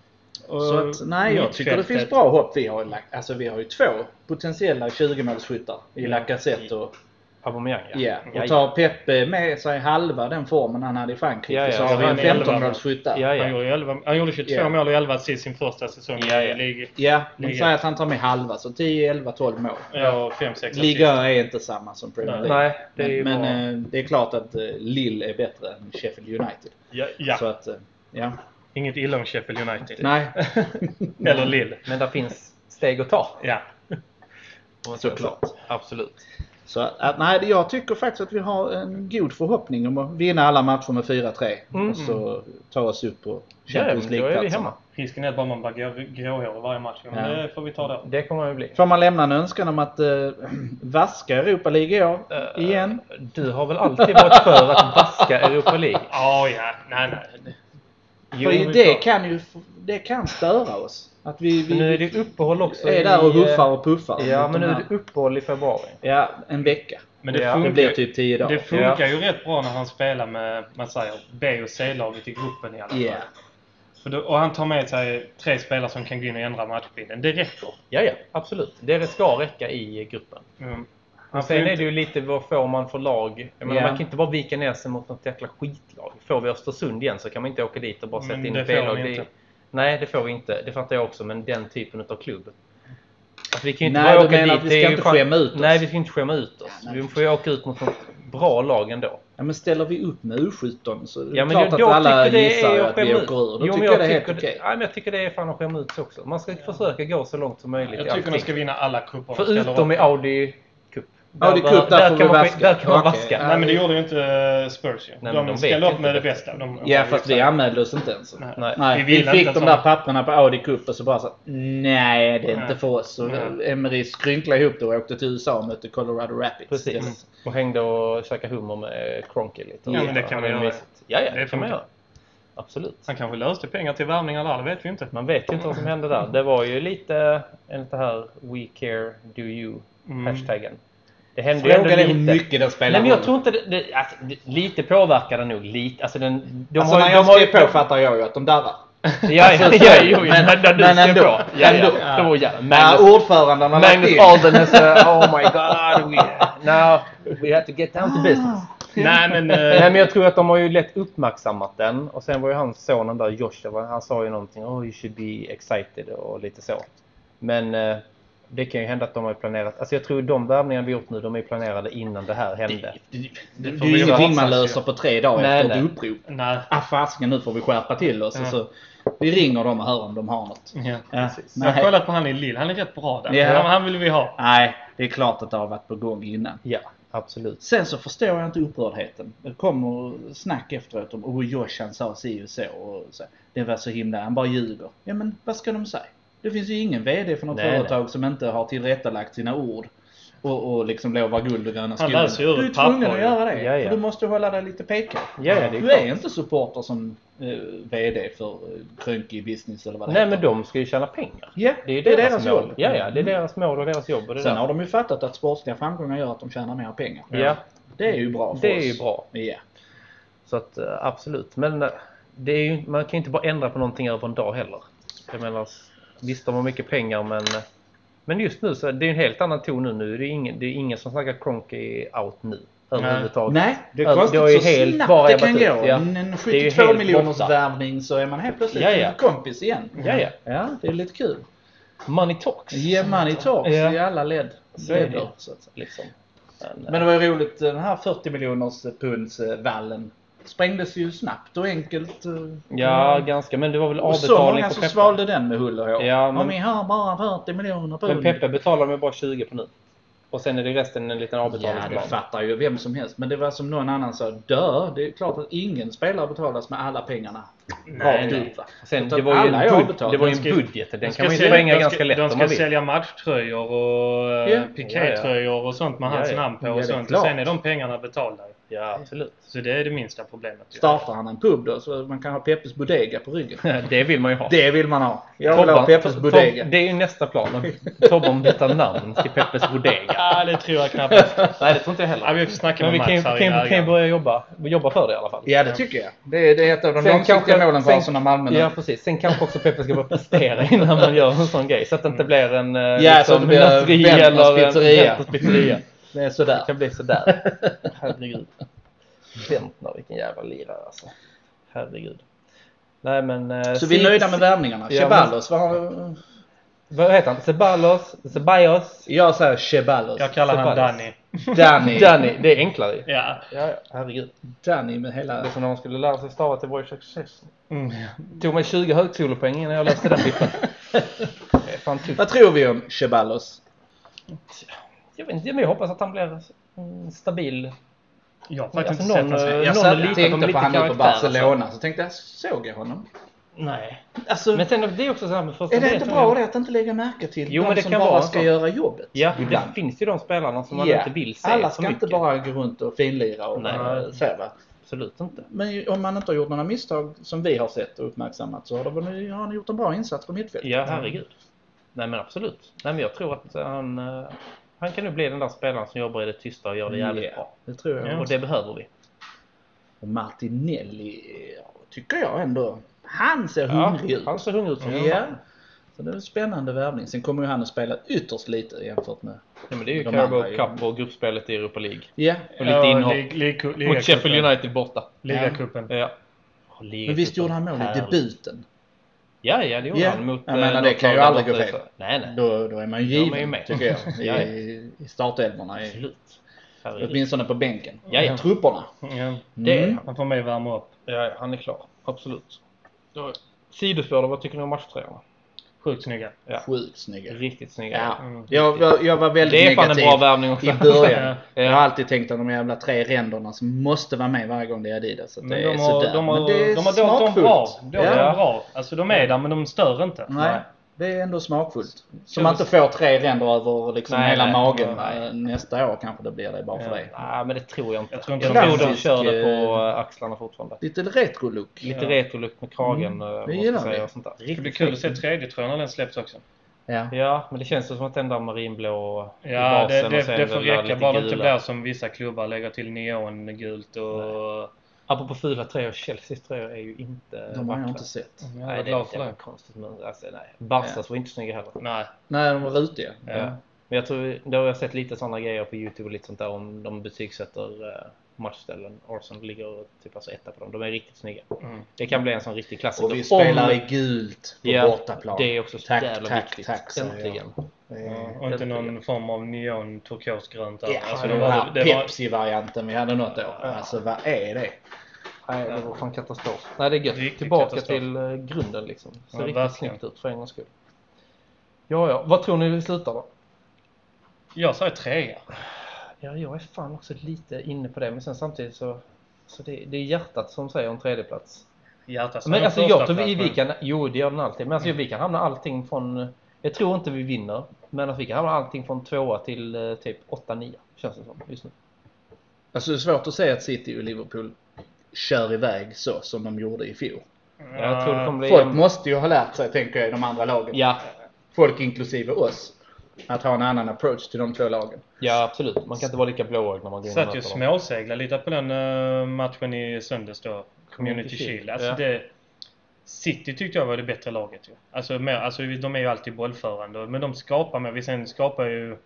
S3: Så att, nej, jag tycker det finns bra hopp. Vi har ju, lagt, alltså, vi har ju två potentiella 20-målsskyttar i Lacazette och,
S2: Aubameyang, ja.
S3: ja.
S2: Ja,
S3: och tar Pepe med sig halva den formen han hade i Frankrike
S2: Ja, ja.
S3: så har vi en
S4: Han är elva.
S3: 15-målsskytt där.
S2: Ja,
S4: Han
S2: ja.
S4: gjorde, ju 11, han gjorde 22
S3: Ja.
S4: mål och 11 assist sin första säsong
S2: Ja,
S4: i
S2: ja.
S4: ligan.
S3: Ja, men
S4: Liga.
S3: säg att han tar med halva så 10, 11, 12 mål.
S4: Ja, 5-6 assist.
S3: Liga är inte samma som Premier
S4: Nej.
S3: League.
S2: Nej, det är ju
S3: men
S2: bra.
S3: men eh, det är klart att eh, Lille är bättre än Sheffield United.
S4: Ja, ja.
S3: Så att, eh, ja.
S4: Inget illa om Sheffield United.
S3: Nej.
S4: Eller Lille.
S2: Men där finns steg att ta.
S4: Ja.
S2: om man säger så. Absolut.
S3: Så att, nej, jag tycker faktiskt att vi har en god förhoppning om att vinna alla matcher med 4-3
S2: Mm.
S3: och så ta oss upp på
S2: Ja,
S3: Champions
S2: men då är vi
S3: League-platserna.
S2: hemma.
S4: Risken är bara man bara grå- gråhårig varje match. Men
S3: Ja.
S4: det får vi ta då.
S2: Det kommer vi bli.
S3: Får man lämna en önskan om att eh, vaska Europa League i år
S2: Eh,
S3: igen?
S2: Du har väl alltid varit för att vaska Europa League?
S4: Ja, ja. Nej, nej.
S2: Jo,
S3: För det kan ju det kan störa oss. Att vi,
S2: Men nu är
S3: vi
S2: det uppehåll också. i,
S3: är där och
S2: eh,
S3: huffar och puffar.
S2: Ja,
S3: mot
S2: men nu
S3: de
S2: är
S3: här.
S2: det uppehåll i februari.
S3: Ja, en vecka.
S4: Men det,
S2: Ja, det
S4: funkar,
S3: Det blir typ 10 dagar.
S4: det funkar ju rätt bra när han spelar med, man säger, B och C-laget i gruppen i alla fall.
S3: Ja.
S4: För då, och han tar med sig tre spelare som kan gå in och ändra matchbilden. Det räcker.
S2: Ja, ja, absolut. Det ska räcka i gruppen.
S4: Mm.
S2: Men
S4: Han får
S2: sen
S4: ju
S2: är det ju lite vad får man för lag. Jag menar,
S3: Ja.
S2: Man kan inte bara vika ner sig mot något jäkla skitlag. Får vi Östersund igen så kan man inte åka dit och bara
S4: Men
S2: sätta in
S4: det
S2: ett
S4: får
S2: B-lag.
S4: vi
S2: Det-
S4: inte.
S2: Nej, det får vi inte. Det fattar jag också. Men den typen av klubb. Alltså, vi kan ju inte
S3: Nej,
S2: bara
S3: du
S2: åka dit.
S3: menar att vi
S2: Det är
S3: ska
S2: ju
S3: inte
S2: fan-
S3: skämma ut oss?
S2: Nej, vi ska inte skämma ut oss.
S3: Ja, nej.
S2: vi får ju åka ut mot något bra lag ändå.
S3: Ja, men ställer vi upp med U17 så är det
S2: Ja, men
S3: klart
S2: jag,
S3: att
S2: jag
S3: alla
S2: tycker det
S3: gissar
S2: är
S3: ju
S2: att
S3: att vi
S2: skämma ut.
S3: åker
S2: Jo,
S3: ur. Då
S2: men
S3: tycker
S2: jag
S3: jag det är helt
S2: tycker det-
S3: okej.
S2: Nej, men jag tycker det är fan att skämma ut sig också. Man ska försöka gå så långt som möjligt i
S4: Jag tycker de
S2: allting.
S4: ska vinna alla cuper. de ställer
S2: Förutom
S4: upp.
S2: i Audi Cup.
S3: Audi Cup, där får
S2: kan
S3: vi
S2: man,
S3: vaska.
S2: Där kan man
S3: Okej.
S2: vaska.
S4: Nej, men det gjorde ju inte eh, Spurs ju.
S2: men
S4: de
S2: de
S4: ställde
S2: vet
S4: upp med
S2: inte
S4: det
S2: bättre.
S4: bästa. De,
S3: Ja, fast vi anmälde oss inte ens.
S4: Nej.
S2: Nej.
S3: Nej,
S4: Vi
S3: vi,
S4: ville
S3: fick
S4: inte
S3: de
S4: så.
S3: där papperna på Audi Cup och så bara så Nej, det är inte
S4: Nej.
S3: för oss. Så
S4: Nej.
S3: Emery skrynklade ihop det och åkte till USA och mötte Colorado Rapids.
S2: Precis. Mm.
S3: Det-
S2: Och hängde och käkade hummer med Cronky lite.
S4: Ja, men det kan man göra.
S2: Ja, ja, det
S4: Det
S2: kan man
S4: funkar.
S2: göra. Absolut.
S4: Han kanske löste pengar till värvningar där, det vet vi inte.
S2: Man vet ju inte vad som hände där. Det var ju lite enligt det här We care, do you
S4: Mm.
S2: hashtaggen. Det hände ju ändå
S3: Frågan är hur
S2: lite.
S3: mycket den spelar
S2: Nej, men jag
S3: roll.
S2: tror inte det, det, alltså, det, Lite påverkar den nog. Lite. Alltså, den, de
S3: alltså,
S2: har, ju-
S3: när
S2: de
S3: jag
S2: har ju
S3: skrev på fattar jag ju att de darrar.
S2: Ja, ja,
S3: Alltså,
S2: ja,
S3: så-
S2: jo, men, när, när du
S3: men
S2: skrev
S3: ändå.
S2: på. Ja, ja,
S3: Ändå.
S2: ja. Då, ja.
S3: Ja,
S2: Magnus,
S3: ordföranden har lagt
S2: Magnus
S3: in.
S2: Alden is, uh, oh my god, we, now we have to get down to business.
S4: Nej, men... eh,
S2: Nej, men jag tror att de har ju lätt uppmärksammat den. Och sen var ju hans son, den där Joshua, han sa ju någonting oh you should be excited och lite så. Men eh, det kan ju hända att de har ju planerat. Alltså jag tror de värvningar vi gjort nu, de är ju planerade innan det här hände.
S3: Det
S4: får
S3: är ju
S4: vi göra.
S3: ingenting man löser på tre dagar
S2: Nej,
S3: efter
S2: nej.
S3: ett upprop.
S4: Nej.
S3: Ah, fasken, nu får vi skärpa till oss.
S4: Ja.
S3: Och så, vi ringer dem och hör om de har något.
S4: Ja.
S3: Ja,
S4: Jag har
S3: nej.
S4: kollat på han i Lille. Han är rätt bra där.
S3: Ja.
S4: Han, han vill vi ha.
S3: nej, det är klart att det har varit på gång innan.
S2: Ja, absolut.
S3: Sen så förstår jag inte upprördheten. Det kommer snack efteråt om oh, Joshan sa si och så, och så. Det var så himla... Han bara ljuger. Ja men vad ska de säga? Det finns ju ingen VD för något
S2: Nej,
S3: företag som inte har tillrättalagt sina ord. Och, och liksom lovar guld och gröna
S4: Han
S3: skogar.
S4: läser ju ur
S3: Du är
S4: papper
S3: tvungen att
S4: ju.
S3: göra det.
S2: Ja, ja.
S3: För du måste hålla dig lite pekad.
S2: Ja, ja, det är
S3: du är inte supporter som eh, VD för eh, Krönke Business eller vad det
S2: Nej,
S3: heter.
S2: men de ska ju tjäna pengar.
S3: Ja,
S2: Det är ju
S3: deras,
S2: deras, mål.
S3: jobb. Mm.
S2: Ja, ja, det är deras mål och deras jobb. Och det
S3: Sen
S2: där.
S3: har de ju fattat att sportsliga framgångar gör att de tjänar mer pengar.
S2: Ja,
S3: Det är ju bra för
S2: det
S3: oss.
S2: är ju bra.
S3: Ja.
S2: Så att eh, absolut. Men eh, det är ju, man kan ju inte bara ändra på någonting över en dag heller. Jag menar, visst de har mycket pengar men... eh, Men just nu så är det är en helt annan ton nu. nu är det, ingen, det är ingen som snackar Cronky out nu. Överhuvudtaget.
S3: Nej, det är
S2: Över-
S3: konstigt
S2: det är
S3: så
S2: helt
S3: snabbt
S2: bara
S3: det kan
S2: ebbat ut,
S3: gå.
S2: ja.
S3: En- En
S2: Det är ju
S3: 72
S2: helt
S3: miljoners
S2: borta.
S3: värvning så är man helt plötsligt
S2: Ja, ja.
S3: en kompis igen.
S2: Ja, ja.
S3: Ja, det är lite kul.
S2: Money talks.
S3: Ge money talks
S2: Ja.
S3: i alla led.
S2: Så är det.
S3: leder. Så att säga.
S2: Liksom. Men,
S3: Men det var ju roligt, den här 40 miljoners punds eh, vallen sprängdes ju snabbt och enkelt. eh,
S2: ja, ganska. Men det var väl
S3: Och så
S2: avbetalning
S3: många
S2: på
S3: som
S2: Peppe.
S3: svalde den med hull och hår.
S2: Ja, men-
S3: Om vi har bara 40 miljoner pund.
S2: Men Peppe betalar med bara 20 på nu. Och sen är det resten en liten
S3: Ja, det
S2: avbetalningsplan.
S3: fattar ju vem som helst. Men det var som någon annan sa, dö. Det är klart att ingen spelare betalas med alla pengarna.
S2: Nej,
S3: Rakt
S2: nej.
S3: ut, va?
S2: Sen,
S3: Utan
S2: det var ju
S3: alla är
S2: en, bud,
S3: avbetalda.
S2: det var ju
S4: De
S2: en
S4: ska-
S2: budget. Den
S4: De ska
S2: kan man ju
S4: sälja-
S2: spränga
S4: de ska-
S2: ganska lätt
S4: De
S2: om man
S4: ska
S2: vill.
S4: sälja matchtröjor och
S3: Ja.
S4: yeah. pikétröjor och sånt med hans
S2: Ja, ja.
S4: namn på
S3: Ja, det är
S4: och sånt.
S3: klart.
S4: Och sen är de pengarna betalda.
S2: Ja, absolut.
S4: Så det är det minsta problemet. ju.
S3: Startar han en pub då så man kan ha Peppes Bodega på ryggen.
S2: Det vill man ju ha.
S3: Det vill man ha. Jag vill ha
S2: Tobban-
S3: Peppes
S2: Tob-
S3: Bodega.
S2: Det är ju nästa plan. Tobban byter namn till Peppes Bodega.
S4: Ja, det tror jag knappast.
S2: Nej, det tror inte jag heller.
S4: Ja, vi får snacka
S2: Men
S4: med
S2: vi
S4: Mats
S2: kan ju
S4: här
S2: kan,
S4: innan
S2: ju- kan ju
S4: jag-
S2: börja jobba, jobba för det i alla fall.
S3: Ja, det tycker jag. Det är, det är ett av de långsiktiga målen för Arsenal Malmö nu.
S2: Ja, precis. Sen kanske också Peppe ska börja prestera innan man gör en sån grej. Så att det inte blir en eh,
S3: så att det blir
S2: natteri
S3: Bentners
S2: eller en-
S3: pizzeria.
S2: Bentners pizzeria.
S3: Det är
S2: Det
S3: sådär.
S2: kan bli sådär. Herregud. Bentner, vilken jävla lirare alltså. Herregud. Nej, men, eh,
S3: Så vi är
S2: Se-
S3: nöjda med värvningarna.
S2: Ja,
S3: Ceballos, vad har...
S2: Vad heter han? Ceballos? Ceballos?
S3: Jag säger Ceballos.
S4: Jag kallar han
S2: Ceballos.
S4: Danny.
S3: Danny.
S2: Danny. Det är enklare ju.
S4: Ja.
S2: Ja, ja, herregud.
S3: Danny med
S2: Det är
S3: hela...
S2: som när man skulle lära sig stava till Voice Success.
S4: Mm.
S2: tog mig 20 högskolepoäng innan jag läste den biffen. Det är fan tufft.
S3: Vad tror vi om Ceballos?
S2: Jag vet inte, men jag hoppas att han blir mm, stabil.
S4: Jag har faktiskt
S2: Alltså,
S4: inte sett
S2: någon,
S4: han spela.
S2: eh, Någon
S3: Jag satt,
S2: litar på
S3: tänkte
S2: lite
S3: på han nu på
S2: karaktär, alltså.
S3: Barcelona, så tänkte jag, såg jag honom?
S2: Nej.
S3: Alltså,
S2: Men sen det är också så här med första
S3: är det inte
S2: grejen.
S3: bra det att inte lägga märke till
S2: Jo,
S3: de
S2: men det
S3: som
S2: kan
S3: bara
S2: vara
S3: ska
S2: så.
S3: göra jobbet?
S2: Ja, det
S3: ibland.
S2: finns ju de spelarna som man
S3: Ja.
S2: inte vill se
S3: Alla
S2: så
S3: ska inte
S2: mycket.
S3: bara gå runt och finlira och
S2: Nej.
S3: så va?
S2: Absolut inte.
S3: Men ju- om man inte har gjort några misstag som vi har sett och uppmärksammat så har de- har han gjort en bra insats på mittfältet.
S2: Ja, herregud. Nej, men absolut. Nej, men jag tror att han, eh, han kan nu bli den där spelaren som jobbar i det tysta och gör det jävligt
S3: Ja,
S2: bra.
S3: Det tror jag.
S4: Ja.
S2: Och det behöver vi.
S3: Och Martinelli ja, tycker jag ändå, han ser
S2: Ja,
S3: hungrig ut.
S2: han ser hungrig ut som
S3: Ja. Så det är en spännande värvning. Sen kommer ju han att spela ytterst lite jämfört med...
S2: Ja, men det är ju
S3: De
S2: Carabao
S3: andra är ju-
S2: Cup och gruppspelet i Europa League.
S3: Ja.
S2: Och lite inhopp. Mot Sheffield
S4: Ligacupen.
S2: United borta.
S4: Ligacupen.
S2: Ja.
S3: Men visst gjorde han mål i debuten?
S2: Ja, ja, det gjorde
S3: Ja.
S2: han. Mot,
S3: Jag menar,
S2: eh,
S3: det kan ju
S2: något
S3: aldrig
S2: lag
S3: gå
S2: där borta.
S3: fel.
S2: Nej, nej.
S3: Då, då är man ju
S2: Då är
S3: given,
S2: man ju med.
S3: tycker jag,
S2: Ja, ja.
S3: i, i startelvorna. I,
S2: Absolut. Herregud.
S3: åtminstone på bänken.
S2: Ja, ja.
S3: Trupperna.
S4: Ja.
S2: Det är
S3: Mm.
S2: han.
S4: Han får mig värma upp.
S2: Ja, ja, han är klar. Absolut. Då- Sidospår då, vad tycker ni om matchtröjorna?
S4: Sjukt snygga.
S2: Ja.
S3: Sjukt snygga.
S2: Riktigt snygga.
S3: Ja.
S4: Mm.
S3: Jag, jag, jag var väldigt
S2: Det är fan en
S3: negativ
S2: bra värvning också.
S3: i början.
S2: Ja.
S3: Jag har alltid tänkt att de jävla tre ränderna som måste vara med varje gång det är Adidas. Så att
S4: Men
S3: det är
S4: de har,
S3: sådär.
S4: de har,
S3: men det är
S4: de har dolt dem bra.
S3: smakfullt.
S4: De är
S3: Ja.
S4: de bra. Alltså de är där men de stör inte.
S3: Nej, det är ändå smakfullt. Så
S4: Kör
S3: man
S4: vi-
S3: inte får tre ränder över liksom
S2: Nej,
S3: hela
S2: nej.
S3: magen.
S2: Nej.
S3: Nästa år kanske det blir det bara för
S4: Ja.
S3: det.
S2: Nej, men det tror jag inte.
S4: Jag tror inte
S2: jag
S4: de-
S2: tror de
S3: Klassisk,
S2: kör det på
S3: eh,
S2: eh, axlarna fortfarande.
S3: Lite retro-look.
S2: Lite
S4: Ja.
S2: retrolukt med kragen. eh, vad ska
S3: Mm. gillar
S2: jag säga,
S3: vi.
S2: och sånt där.
S4: Det blir kul att se 3D-tröjan när den släpps också.
S3: Ja.
S2: Ja, men det känns ju som att den där marinblå i
S4: Ja, det,
S2: basen och
S4: det,
S2: sen
S4: det får
S2: den där
S4: räcka
S2: lite
S4: bara typ det inte
S2: gula.
S4: blir som vissa klubbar lägger till neongult och...
S2: Apropå fula tröjor, Chelseas tröjor är ju inte
S3: De har
S2: vackra. Mm.
S3: jag inte sett.
S4: Jag
S2: Nej,
S4: är
S2: det är
S4: glad
S2: inte
S4: för det.
S2: konstigt. Men alltså, nej. Barstas var inte snygga heller.
S4: Nej.
S3: Nej, de var rutiga.
S4: Ja.
S2: Ja. Men jag tror, då har jag sett lite sådana grejer på Youtube och lite sånt där om de betygsätter eh, matchställen. Arsenal ligger typ alltså etta på dem. De är riktigt snygga.
S4: Mm.
S2: Det kan bli en sån riktig klassiker.
S3: Och vi spelar
S2: Om-
S3: i gult på
S2: Ja,
S3: bortaplan.
S2: Det är också så
S3: Tack,
S2: jävla
S3: tack,
S2: viktigt.
S3: tack, säger jag.
S2: Äntligen.
S4: Ja, Mm. och inte någon form av neon turkosgrönt där.
S3: Ja,
S4: Alltså,
S3: den
S4: det var,
S3: här
S4: det var,
S3: Pepsi-varianten vi hade något år. Alltså vad är det?
S2: Nej, det var fan katastrof. Nej, det är gött.
S4: Riktig
S2: Tillbaka
S4: katastrof.
S2: till eh, grunden liksom. Ser
S4: Ja,
S2: riktigt
S4: verkligen.
S2: snyggt ut för en gångs skull. Ja, ja. Vad tror ni det slutar då?
S4: jag sa ju trea.
S2: Ja, jag är fan också lite inne på det, men sen samtidigt så... så det, det är hjärtat som säger en tredjeplats.
S4: Hjärtat som
S2: Men
S4: en
S2: alltså
S4: första Mm.
S2: jag tror vi,
S4: plats,
S2: vi
S4: men-
S2: kan... Jo, det gör den alltid. Men alltså vi kan hamna allting från... Jag tror inte vi vinner, men att vi kan hamna allting från tvåa till eh, typ 8-9, känns det som just nu.
S3: Alltså det är svårt att säga att City och Liverpool kör iväg så som de gjorde i fjol.
S2: Jag tror det kommer bli...
S3: Folk
S2: jämnt.
S3: måste ju ha lärt sig, tänker jag, i de andra lagen.
S2: Ja,
S3: Folk inklusive oss. Att ha en annan approach till de två lagen.
S2: ja, absolut. Man kan inte vara lika blåögd när man går in och
S4: Satt ju och
S2: möter dem.
S4: småseglade lite på den eh, matchen i söndags då. Community Shield. Alltså det, City tyckte jag var det bättre laget. Ju. Alltså, mer, alltså de är ju alltid bollförande. och- Men de skapar mer. Vi sen skapar ju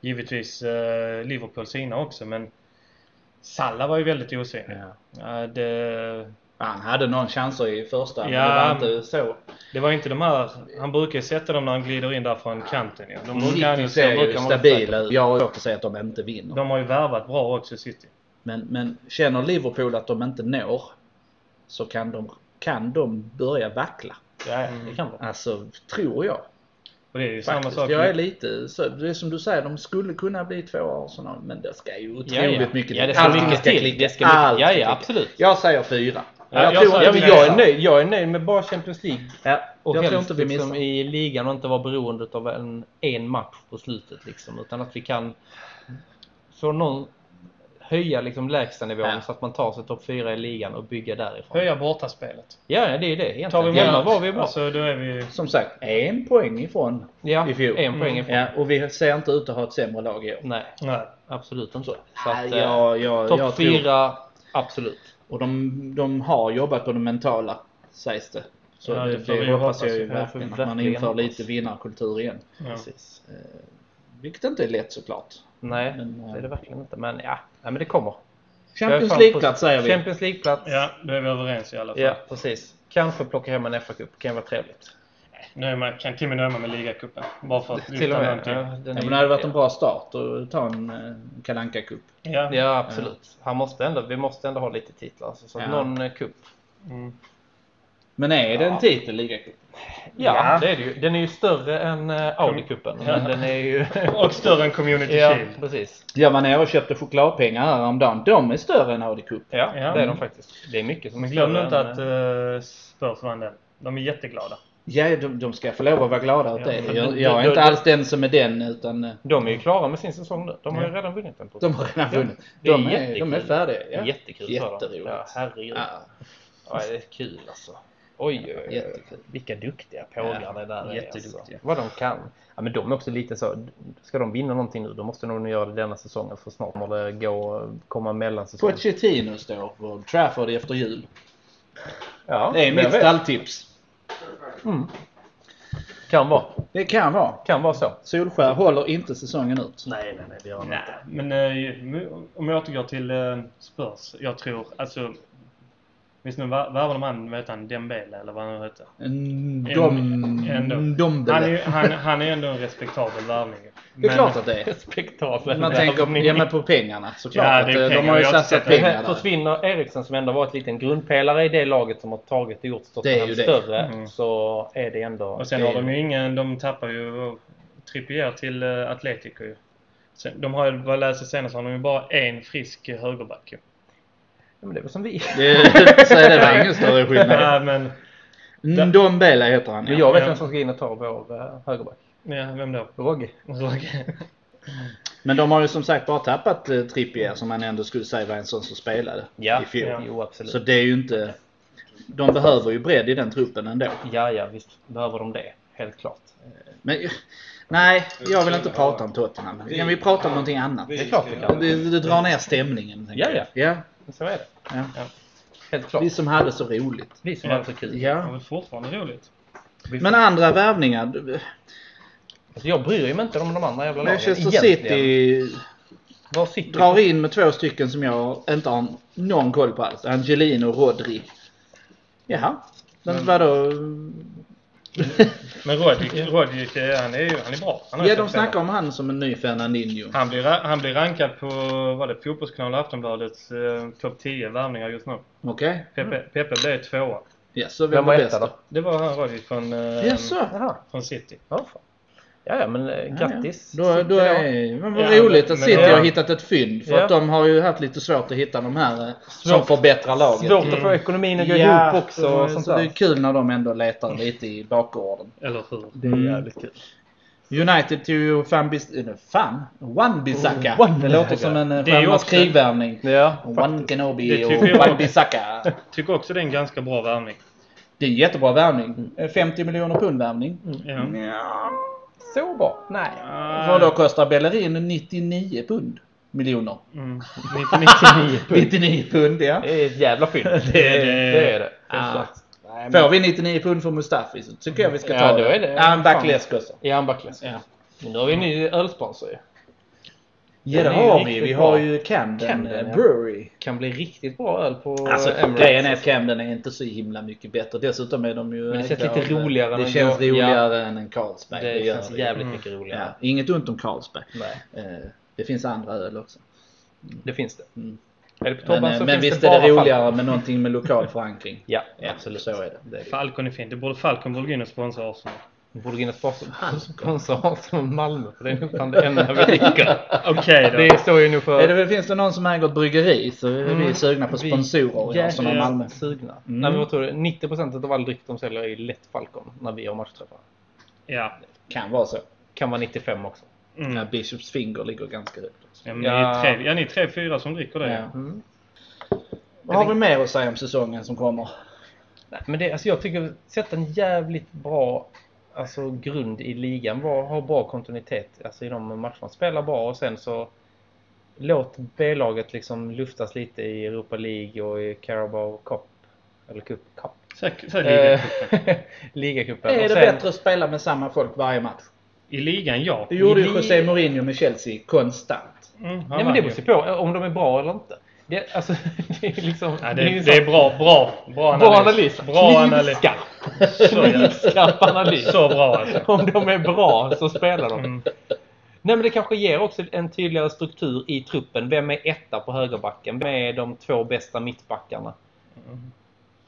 S4: givetvis eh, Liverpool sina också. Men Salla var ju väldigt osynlig.
S3: Ja.
S4: Ja, det,
S3: Han hade någon chanser i första, men
S4: Ja,
S3: det var
S4: men-
S3: inte så.
S4: det var inte de här... Han brukar ju sätta dem när han glider in där från kanten. Ja. De brukar han
S3: City
S4: ju-
S3: ser
S4: de brukar
S3: ju
S4: han hålla
S3: stabila ut. Jag har svårt att säga att de inte vinner.
S4: De har ju värvat bra också City.
S3: Men, men känner Liverpool att de inte når så kan de, kan de börja vackla.
S2: Ja, ja, det kan vara.
S3: Alltså, tror jag.
S4: Och det är ju samma
S3: Faktiskt.
S4: sak.
S3: Jag är
S4: med-
S3: lite så, det är som du säger, de skulle kunna bli två Arsenal men det ska ju otroligt
S2: Ja, ja.
S3: mycket
S5: Ja, det ska
S3: Allting
S5: mycket till.
S3: klicka.
S5: Det ska mycket-
S3: Allt
S5: ja,
S3: ska
S5: ja,
S3: klicka.
S5: absolut.
S3: Jag säger fyra.
S4: Ja, jag
S3: tror
S4: sa-
S3: inte
S2: Ja,
S3: vi
S2: men jag, är
S3: missar.
S2: nöjd, jag är nöjd med bara Champions League
S3: Ja,
S2: och
S3: jag tror
S2: helst
S3: inte vi missar.
S2: liksom, i ligan och inte vara beroende av en, en match på slutet. Liksom, utan att vi kan få någon, höja liksom lägstanivån
S3: Ja.
S2: så att man tar sig topp 4 i ligan och bygga därifrån.
S4: Höja bortaspelet.
S2: Ja, ja, det är ju det egentligen.
S4: Tar vi med
S2: Hemma var vi bra.
S4: Alltså, då är vi...
S3: Som sagt, en poäng ifrån.
S2: Ja,
S3: i fjol. Mm.
S2: en poäng ifrån.
S3: Ja, och vi ser inte ut att ha ett sämre lag i år.
S2: Nej,
S4: Nej.
S2: absolut inte. Så
S3: Ja,
S2: att, eh,
S3: jag, jag, jag
S2: topp
S3: tror-
S2: 4, absolut.
S3: Och de, de har jobbat på det mentala, sägs det. Så
S4: Ja, det
S3: det,
S4: får vi
S3: det
S4: ju
S3: hoppas
S4: hoppas.
S3: jag ju
S2: Ja, det får vi
S3: verkligen, att man
S2: verkligen
S3: inför
S2: hoppas.
S3: lite vinnarkultur igen. Eh,
S4: Ja.
S2: Precis.
S3: Vilket inte är lätt såklart.
S2: Nej,
S3: Men, eh,
S2: det är det verkligen inte. Men ja, nej, men det kommer. Jag är
S3: Champions
S2: fan
S3: League-plats
S2: på-
S3: säger vi.
S2: Champions League-plats.
S4: ja, då är vi överens i alla fall.
S2: Ja, precis. Kanske plocka hem en FA-cup. Kan vara trevligt.
S4: Nu är man, kan till och med nöja mig med ligacupen. Bara för att
S2: Till och
S4: lyfta
S2: med.
S4: någonting. Ja.
S2: den
S3: Ja,
S2: är-
S3: men det hade varit en bra start att ta en eh, kalanka cup
S4: Ja.
S2: Ja, absolut. Han måste ändå, vi måste ändå ha lite titlar. Alltså, så att
S3: Ja.
S2: någon eh, cup.
S4: Mm.
S3: Men är det en titel, ligacup?
S2: Ja,
S4: Ja.
S2: det är det ju. Den är ju större än eh, Audi-cupen. Men den är ju...
S4: Och större än Community
S2: ja,
S4: Shield.
S2: precis.
S3: Jag var nere och köpte chokladpengar här häromdagen. De är större än AD Cup.
S2: Ja,
S4: Ja.
S2: det är de faktiskt. Det är mycket som
S4: Men
S2: är
S4: glöm nu
S2: större
S4: inte
S2: än,
S4: att
S2: eh,
S4: uh, Spurs vann den. De är jätteglada.
S3: Ja, de, de ska få lov att vara glada åt
S4: Ja,
S3: det.
S4: men
S3: Jag,
S2: det-
S3: jag är
S2: det-
S3: inte
S2: det-
S3: alls den som är den utan eh,
S2: De är ju klara med sin säsong nu. De har ju
S4: Ja.
S2: redan vunnit en pokal.
S3: de har redan
S2: Ja,
S3: vunnit.
S2: det är
S3: De är, de är
S2: jättekul.
S3: färdiga. Ja.
S2: Jättekul för dem.
S3: Jätteroligt.
S2: Ja, herregud.
S3: Ja,
S2: Ja, det är kul alltså. Oj, oj, oj.
S3: Jättekul.
S2: Vilka duktiga pågar
S3: Ja,
S2: det där är.
S3: jätteduktiga.
S2: Alltså. Vad de kan. Ja, men de är också lite så. Ska de vinna någonting nu, då måste de nog göra det denna säsongen. För snart kommer det gå, komma mellan säsong.
S3: Pochettino står på Old Trafford efter jul.
S2: Ja,
S3: Det är
S2: vem
S3: mitt
S2: vet.
S3: stalltips.
S2: Kan vara.
S3: Det kan vara.
S2: Kan vara så.
S3: Solskär håller inte säsongen ut.
S2: Nej, nej, nej. Det gör de
S4: Nej, men eh, om jag återgår till eh, Spurs. Jag tror, alltså... Visst nu vär- värvar de han, vad heter han, Dembele eller vad han nu heter?
S3: En
S4: Ändå.
S3: dom...
S4: Han är, ju-
S3: Dombele.
S4: han, han är ändå en respektabel värvning.
S3: Det är
S4: Men-
S3: klart att det är.
S2: Respektabel.
S3: Man tänker ja, men på pengarna såklart.
S4: Ja, det är
S3: att, eh, de
S4: pengar.
S3: har ju
S4: Jag har inte
S3: satsat
S4: sett det.
S3: pengar där.
S2: Försvinner Eriksen som ändå varit lite en grundpelare i det laget som har tagit och gjort Tottenham
S3: ju det.
S2: större
S4: Mm.
S2: så är det ändå...
S4: Och sen har de ju ingen, de tappar ju Trippier till eh, Atletico ju. Sen, de har ju, vad jag läser senast, har de ju bara en frisk högerback ju.
S2: Ja, men det var som vi.
S3: Det- Så det var ingen större skillnad.
S4: Nej men,
S3: Dombele heter han.
S2: Men
S3: Ja.
S2: jag vet
S4: Ja.
S2: vem som ska in och ta vår eh, högerback.
S4: ja, vem då?
S2: Rogge.
S4: Roger.
S3: Men de har ju som sagt bara tappat eh, Trippier som man ändå skulle säga var en sån som spelade i fjol.
S4: ja.
S2: Jo, absolut.
S3: Så det är ju inte... De behöver ju bredd i den truppen ändå.
S2: Ja, ja, visst behöver de det. Helt klart.
S3: Men, nej, jag vill inte prata om Tottenham. Kan vi prata om någonting annat?
S2: Det är klart vi kan.
S3: Det, det drar ner stämningen. tänker
S2: Ja, ja.
S3: jag.
S2: Så är det.
S3: ja,
S2: Helt
S3: ja.
S2: klart.
S3: Vi som hade så roligt.
S2: Vi som
S4: Ja.
S2: har så kul.
S4: Det var
S3: Ja.
S4: väl fortfarande roligt.
S2: Vi
S3: Men
S2: får-
S3: andra värvningar. du-
S2: alltså, jag bryr mig inte om de andra jävla lagen.
S3: Manchester
S2: egentligen.
S3: City
S2: Var City?
S3: drar in med två stycken som jag inte har någon koll på alls. Angelino och Rodri. Jaha. Men vadå?
S4: Men Rodgic, Rodgic eh, han är ju han är bra. Han är
S3: Ja,
S4: en
S3: de
S4: spelare.
S3: snackar om han som en ny Fernandinho.
S4: han blir, ra- han blir rankad på, vad är det, Fotbollskanalen och Aftonbladets eh, topp 10 värvningar just nu.
S3: Okej.
S4: Pepe,
S3: Mm.
S4: Pepe blev tvåa.
S3: Ja, så vem
S2: Vem
S3: var
S2: var
S3: bäst
S2: etta
S3: då?
S2: då? Ehm,
S4: Det var han Rodgic från, eh,
S3: Jaså?
S2: Jaha.
S4: från City.
S2: Ja, fan. ja, ja, men eh, grattis.
S3: Ja, ja. Då,
S2: City
S3: då är, men vad
S4: Ja,
S3: roligt
S4: men-
S3: att City
S4: men-
S3: har hittat ett fynd. För
S2: Ja.
S3: att de har ju haft lite svårt att hitta de här eh, som
S2: Svårt.
S3: förbättrar laget.
S2: Svårt att få ekonomin att gå
S3: Ja,
S2: ihop också.
S3: så-
S2: och sånt
S3: så det är
S2: där.
S3: kul när de ändå letar lite i bakgården.
S4: Eller hur?
S3: Det är jävligt kul. United tog ju fan, bis, eh, nej, fan, One Bissaka.
S2: One
S3: det låter
S2: Bissaka.
S3: som en eh,
S4: Det är ju
S3: stjärnornas
S4: också-
S3: krigvärvning.
S2: Ja,
S3: One Kenobi
S4: Det
S3: och
S4: tycker jag
S3: One
S4: också.
S3: Bissaka.
S4: Tycker också det är en ganska bra värvning.
S3: Det är en jättebra värvning. Eh, 50 miljoner pund värvning.
S4: Ja.
S3: Ja.
S2: så bra. Nej.
S4: Mm. Ah,
S3: För då kostar Bellerin 99 pund. miljoner.
S4: Mm. 99.
S3: 99 pund, ja.
S2: Det är ett jävla fynd.
S3: Det är det.
S2: det. Är det.
S3: Ah.
S2: Självklart.
S5: Nej, men,
S3: Får vi 99 pund för Mustafi så tycker jag vi ska ta
S2: Ja, då är det-
S3: Ja, en backläsk också.
S2: I armbackless.
S3: Ja.
S2: Men nu har vi en ny ölsponsor ju.
S3: Ja, det
S2: Den är ju
S3: har vi.
S2: riktigt
S3: Vi har
S2: bra.
S3: ju Camden,
S2: Camden,
S3: eh,
S2: ja.
S3: Brewery.
S2: Kan bli riktigt bra öl på
S3: Alltså,
S2: Emirates.
S3: grejen är att Camden är inte så himla mycket bättre. Dessutom är de ju...
S2: Men det känns
S3: ägda
S2: lite
S3: av-
S2: roligare
S3: Det
S2: än-
S3: känns
S2: ja.
S3: roligare än en Carlsberg.
S2: Det
S3: gör
S2: känns
S3: det.
S2: jävligt mycket roligare.
S3: Ja, inget ont om Carlsberg.
S2: Nej,
S3: Eh, Det finns andra öl också.
S2: det finns det.
S3: Mm.
S2: Är det på
S3: Men,
S2: Tobban
S3: eh,
S2: så
S3: men
S2: finns
S3: visst är det
S2: bara
S3: roligare
S2: Falcon.
S3: med någonting med lokal förankring.
S2: Ja,
S3: Ja,
S2: absolut.
S3: Så är det. det, är det.
S4: Falcon är fint. Det borde Falcon borde gå in och sponsra Arsenal.
S2: Borde Guinness sponsra Arsenal Malmö för det är nog fan det enda vi dricker.
S4: Okej då.
S2: Det står ju nog för...
S3: Är det, finns det någon som äger ett bryggeri så är vi
S2: Mm.
S3: sugna på
S2: Vi-
S3: sponsorer i Arsenal
S2: Jäkligt
S3: Malmö. Mm.
S2: sugna. Nej, men vad tror du? 90% av all dryck de säljer är ju lätt Falcon när vi har matchträffar.
S4: Ja.
S3: Kan vara så.
S2: Kan vara 95 också.
S3: Ja,
S4: Mm.
S3: Bishops finger ligger ganska högt. också.
S4: Ja, men ni
S2: Ja.
S4: är tre, ja, ni är tre, fyra som dricker det.
S3: Ja.
S2: Mm.
S3: Vad har vi mer att säga om säsongen som kommer?
S2: Nej, men det, alltså jag tycker sätta en jävligt bra alltså, grund i ligan. Var, ha bra kontinuitet alltså, i de matcherna. Spela bra och sen så låt B-laget liksom luftas lite i Europa League och i Carabao Cup. Eller Cup. cup.
S4: Säkert, säkert.
S2: Eh, Ligacupen.
S3: Är
S2: Och
S3: det
S2: sen-
S3: bättre att spela med samma folk varje match?
S4: I ligan, ja.
S3: Det gjorde ju
S2: Vi-
S3: José Mourinho med Chelsea konstant.
S4: Mm,
S2: Nej,
S4: han
S2: men det
S4: vann ju.
S2: beror ju på om de är bra eller inte. Det, alltså, det är liksom...
S4: Nej,
S2: det är ju
S4: det,
S2: så-
S4: det är bra, bra, bra analys.
S2: Bra analys.
S4: Bra analys.
S2: Knivskarp.
S4: Så jävla-
S2: Knivskarp analys.
S4: Så bra alltså.
S2: Om de är bra så spelar de.
S4: Mm.
S2: Nej men det kanske ger också en tydligare struktur i truppen. Vem är etta på högerbacken? Vem är de två bästa mittbackarna? Mm.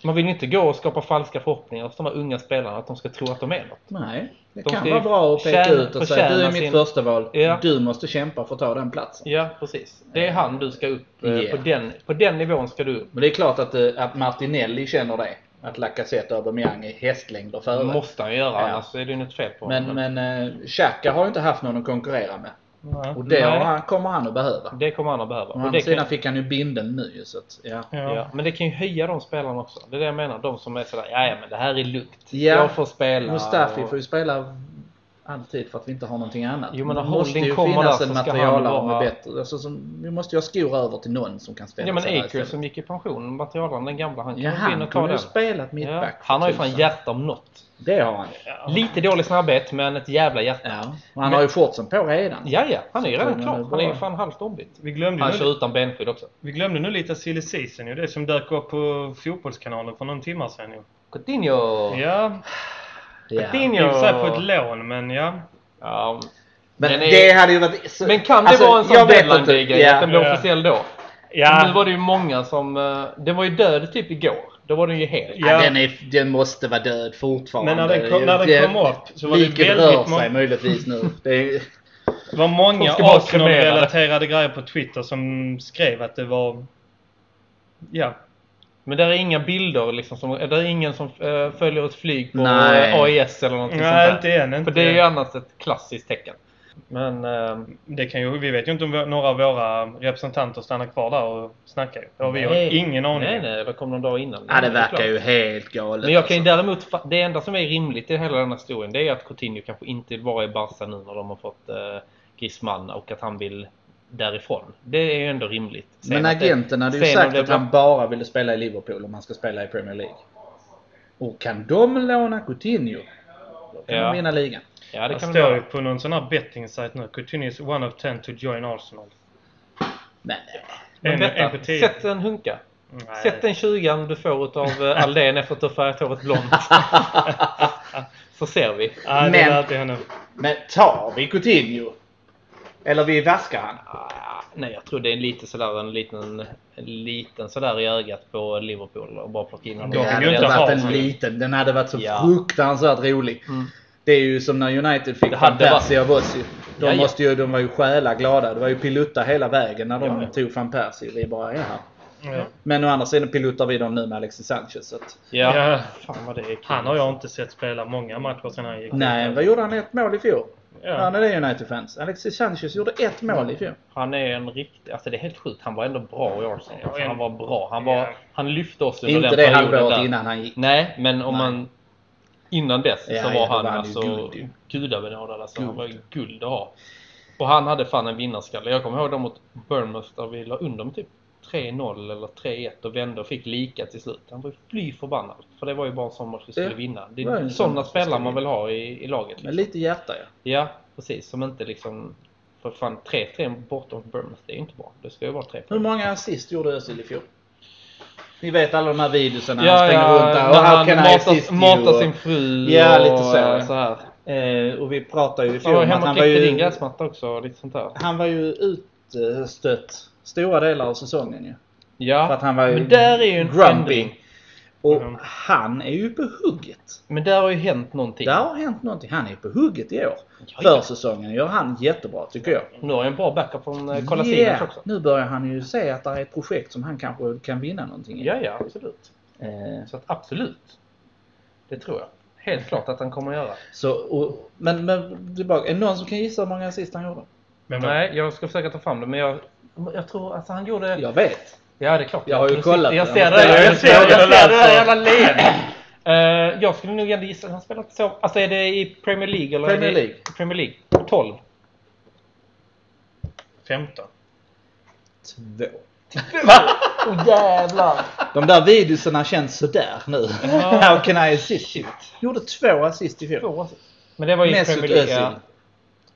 S2: Man vill inte gå och skapa falska förhoppningar hos de här unga spelarna att de ska tro att de är något.
S3: Nej. Det
S2: De
S3: kan
S2: ska
S3: vara
S2: ju
S3: bra att peka
S2: tjäna-
S3: ut och säga
S2: förtjäna
S3: du är mitt
S2: sin-
S3: första val.
S2: Ja.
S3: Du måste kämpa för att ta den platsen.
S2: Ja, precis. Det är han du ska upp eh,
S3: Ja.
S2: på, den, på den nivån ska du upp.
S3: Men det är klart att, eh, att Martinelli känner det. Att Lacazette och Aubameyang är hästlängder
S2: Det
S3: före.
S2: måste han göra,
S3: Ja.
S2: annars är det ju något fel på
S3: Men,
S2: honom.
S3: men eh, Xhaka har ju inte haft någon att konkurrera med.
S4: Ja.
S3: Och det har
S2: Nej.
S3: han, kommer han att behöva.
S2: Det kommer han att behöva.
S3: Å
S2: Och
S3: andra
S2: det
S3: sidan
S2: kan,
S3: fick han ju binden nu. Så att, ja.
S2: ja, men det kan ju höja de spelarna också. Det är det jag menar. De som är sådär, ja men det här är lugnt.
S3: Ja.
S2: Jag får spela.
S3: Mustafi
S2: och-
S3: får ju spela alltid för att vi inte har någonting annat.
S2: Jo, men
S3: det
S2: när Holding
S3: måste ju
S2: kommer
S3: finnas
S2: där så
S3: en
S2: ska han
S3: materialare
S2: vara-
S3: med bättre. Alltså, som, vi måste ju ha skor över till någon som kan spela
S2: Ja men
S3: så här
S2: Aker
S3: istället.
S2: som gick i pension, materialaren, den gamla, han kan
S3: Ja,
S2: gå in
S3: han
S2: och ta
S3: kunde ju
S2: den.
S3: spelat
S2: Ja,
S3: mittback. för
S2: han har ju fan
S3: tusan.
S2: hjärta om något.
S3: Det har han.
S2: Lite dålig snabbhet men ett jävla hjärta.
S3: Ja. Och han har ju shortsen på redan.
S2: Ja, ja, han är ju
S3: Så
S2: redan
S3: tror man det
S2: klar.
S3: är
S2: Han är ju
S3: bra.
S2: fan halvt ombytt.
S4: Vi glömde,
S3: Mm.
S2: Han
S4: nu,
S2: kör utan benskydd också.
S4: vi glömde nu lite silly season ju. Det som dök upp på fotbollskanalen för någon timme sedan ju.
S2: Coutinho!
S4: Ja,
S3: Ja.
S4: i
S2: Coutinho!
S4: och för sig på ett lån men ja.
S2: Ja,
S3: Men
S2: Den är-
S3: det hade ju varit... så-
S2: Men kan det
S3: alltså,
S2: vara en sån
S3: jag vet inte.
S2: deadline-grej
S3: Ja.
S2: att den blir
S4: Ja.
S2: officiell då? Nu var
S4: Ja,
S2: det ju många som... eh, Den var ju död typ igår. Då var den ju hel.
S4: Ja.
S3: Ja. Den, är, den måste vara död fortfarande.
S4: Men när den kom- när den
S3: Det-
S4: kom upp så var det
S3: liket
S4: väldigt
S3: rör sig
S4: många-
S3: möjligtvis nu. Det är,
S4: det var
S2: Folk
S4: många
S2: ska bara
S4: Arsenal-relaterade grejer på Twitter som skrev att det var... Ja,
S2: Men där är inga bilder liksom. Som, där är ingen som eh, följer ett flyg på
S3: Nej.
S2: eh, AIS eller någonting sånt
S4: nej
S2: där.
S4: inte än. Inte
S2: För det är ju
S4: än.
S2: annars ett klassiskt tecken. Men... eh,
S4: ehm, Det kan ju, vi vet ju inte om vå- några av våra representanter stannar kvar där och snackar. ju. Det har vi
S2: nej.
S4: ju ingen aning
S2: Nej,
S4: om.
S2: nej. Det kom någon dag innan.
S3: ja, det
S2: är
S3: verkar
S2: klart.
S3: ju helt galet.
S2: Men jag kan ju
S3: alltså.
S2: däremot... fa- Det enda som är rimligt i hela den här historien det är att Coutinho kanske inte var i Barca nu när de har fått eh, Griezmann och att han vill därifrån. Det är ju ändå rimligt. Sen
S3: Men
S2: att det-
S3: agenten hade ju
S2: sen om
S3: sagt
S2: det
S3: att
S2: blir-
S3: han bara ville spela i Liverpool om han ska spela i Premier League. Och kan de låna Coutinho, då kan
S2: Ja.
S3: de vinna ligan.
S2: Ja, det
S4: Det
S2: kan
S4: kan
S2: vi
S4: står ju
S2: göra.
S4: på någon sån här betting-sajt nu. Coutinho is one of ten to join Arsenal.
S3: Nej.
S2: Men
S4: En, en på
S2: vänta,
S4: tio.
S2: sätt en hunka.
S4: Nej.
S2: Sätt den 20 du får utav eh, Aldén efter att du har färgat håret blont. Så ser vi.
S4: Nej,
S3: Men-
S4: det lät jag nu.
S3: Men tar vi Coutinho? Eller vi vaskar han?
S2: Ah, Nej, jag tror det är lite sådär en liten, en liten sådär i ögat på Liverpool och bara plocka in honom.
S4: Då
S3: Det
S4: vill
S3: hade
S4: ju inte ha
S3: varit en
S4: honom.
S3: liten. Den hade varit så
S2: Ja.
S3: fruktansvärt rolig.
S2: Mm.
S3: Det är ju som när United fick
S2: Det
S3: van
S2: hade varit-
S3: Persie av oss ju. De,
S2: Ja, ja.
S3: Måste ju, de var ju själa glada. Det var ju pilutta hela vägen när de
S2: Ja, ja.
S3: tog van Persie. Vi bara, ja.
S4: Ja.
S3: Men å andra sidan piluttar vi dem nu med Alexis Sanchez. Så att,
S2: Ja.
S4: Ja.
S2: Fan vad det är kul.
S4: Han har jag inte sett spela många matcher sedan han gick.
S3: nej, vad gjorde han ett mål i fjol? Ja.
S4: Ja.
S3: det är United-fans. Alexis Sanchez gjorde ett mål i fjol.
S2: Han är en riktig... Alltså det är helt sjukt. Han var ändå bra i Arsenal. Alltså,
S4: Ja,
S2: han
S4: en-
S2: var bra. Han, var,
S4: Ja.
S2: han lyfte oss under
S3: Inte
S2: den
S3: det
S2: perioden
S3: halvåret
S2: där.
S3: innan han gick.
S2: Nej, men om
S3: Nej.
S2: man... Innan dess
S3: Ja,
S2: så
S3: ja,
S2: var
S3: då
S2: han
S3: var han ju
S2: alltså
S3: guld ju.
S2: gudabenådad. Alltså, han
S3: Guld.
S2: var ju guld att ha. Och han hade fan en vinnarskalle. Jag kommer ihåg dem mot Bournemouth där vi la under med typ 3-0 eller 3-1 och vände och fick lika till slut. Han var ju fly förbannad. För det var ju bara en sån match vi skulle
S3: Ja.
S2: vinna. Det
S3: Det var
S2: är
S3: en
S2: sådana
S3: sån
S2: spelare
S3: match vi
S2: man vill ha i, i laget.
S3: Med
S2: Liksom.
S3: lite hjärta ja.
S2: Ja, precis. Som inte liksom... För fan, 3-3 borta mot Bournemouth, det är ju inte bra. Det ska ju vara 3
S3: Hur många assist gjorde Özil i fjol? Ni vet alla de här videorna när
S2: Ja,
S3: han springer
S2: ja,
S3: runt där.
S2: när
S3: Och how
S2: han
S3: can I
S2: matar-
S3: assist you?
S2: matar
S3: Och-
S2: sin fru
S3: Ja,
S2: och,
S3: lite så.
S2: eh, så här.
S3: Eh, och vi pratade ju i
S2: Han
S3: fjol
S2: var
S3: om att
S2: hemma
S3: han
S2: och
S3: var
S2: klippte din
S3: ju,
S2: gräsmatta också och lite sånt där.
S3: han var ju utstött stora delar av säsongen ju.
S2: Ja,
S3: För att han var ju
S2: men där är ju en
S3: grumpy.
S2: ändring.
S3: Och
S4: Mm.
S3: han är ju på hugget.
S2: Men där har ju hänt någonting.
S3: Där har hänt någonting. Han är på hugget i år.
S2: ja.
S3: Försäsongen gör han jättebra tycker jag.
S2: Nu har jag en bra backup från Kolasinac
S3: Yeah.
S2: också.
S3: Nu börjar han ju se att det här är ett projekt som han kanske kan vinna någonting i.
S2: Ja, ja, absolut.
S3: Eh,
S2: Så att absolut. Det tror jag. Helt klart att han kommer att göra.
S3: så, och, men, men tillbaka, är det någon som kan gissa hur många assist han gjorde?
S4: Men, men,
S2: Nej, jag ska försöka ta fram det, men jag, jag tror att han gjorde... Ja,
S3: Jag vet.
S2: det är klart.
S3: Jag har ju
S2: Nu
S3: kollat
S2: sitter- Jag
S3: det.
S2: ser
S3: Jag
S2: det.
S3: ställer
S2: Jag ser, jag
S3: frågan
S2: ser det där
S3: alltså.
S2: jävla leendet. Eh, jag skulle nog ändå gissa att han spelat så. Alltså är det i Premier League? Eller
S3: Premier
S2: är det,
S3: League.
S2: Premier League. 12.
S4: 15.
S3: Två.
S2: Åh jävlar!
S3: De där videorna känns sådär nu. How can I assist you? Gjorde två assist i fjol.
S2: Två. Men det var ju i
S3: Mesut
S2: Premier League. ja.
S3: Özil.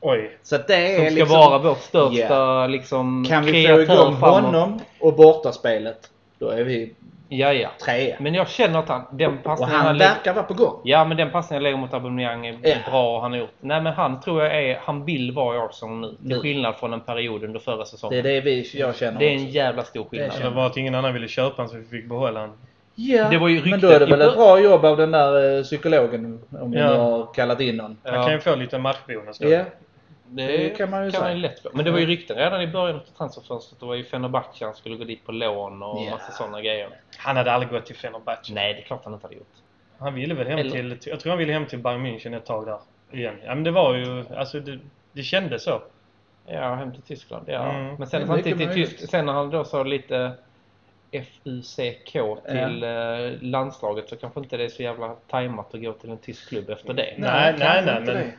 S4: Oj.
S3: Så att det
S2: Som
S3: är
S2: ska
S3: liksom...
S2: vara vårt största
S3: Ja.
S2: liksom,
S3: Kan vi få
S2: kreatör
S3: igång
S2: framåt.
S3: honom och bortaspelet, då är vi
S2: Ja, ja.
S3: trea.
S2: Men jag känner att han, den
S3: Och
S2: passningen han,
S3: han
S2: lägger...
S3: verkar vara på gång.
S2: Ja, men den passningen han lägger mot Aubameyang är
S3: Ja.
S2: bra och han har gjort. Nej, men han tror jag är... Han vill vara i Arsenal nu. Till
S3: Nu.
S2: skillnad från en period under förra
S3: Mm. Det
S2: säsongen.
S3: är det vi, jag känner
S2: Det är en
S3: också.
S2: jävla stor
S3: Det
S2: skillnad.
S4: Eller var att ingen annan ville köpa honom så vi fick behålla honom.
S3: Ja,
S2: det var ju
S3: men
S2: ryktet
S3: då är det väl
S2: i bör-
S3: ett bra jobb av den där eh, psykologen om ni
S4: Ja.
S3: har kallat in någon.
S4: Han
S2: Ja.
S4: kan ju få lite matchbonus då.
S3: Ja,
S2: Det kan man ju kan
S3: säga. Mm.
S2: man ju lätt få. Men det var ju rykten redan i början av transferfönstret. Det var ju Fenerbahce han skulle gå dit på lån och
S3: Ja.
S2: massa sådana grejer.
S4: Han hade aldrig gått till Fenerbahce.
S2: Nej, det är klart han inte hade gjort.
S4: Han ville väl hem
S2: Eller-
S4: till... Jag tror han ville hem till Bayern München ett tag där. Igen. Ja, men det var ju... Alltså det, det kändes så.
S2: Ja, hem till Tyskland. Ja.
S4: Mm.
S2: Men sen
S3: Det är
S2: att han
S3: mycket
S2: till, till
S3: möjligt.
S2: tysk, sen när han då sa lite FUCK till eh, landslaget så kanske inte det är så jävla tajmat att gå till en tysk klubb efter det.
S4: Nej, nej,
S3: kanske
S4: nej,
S3: inte
S4: men-
S3: det.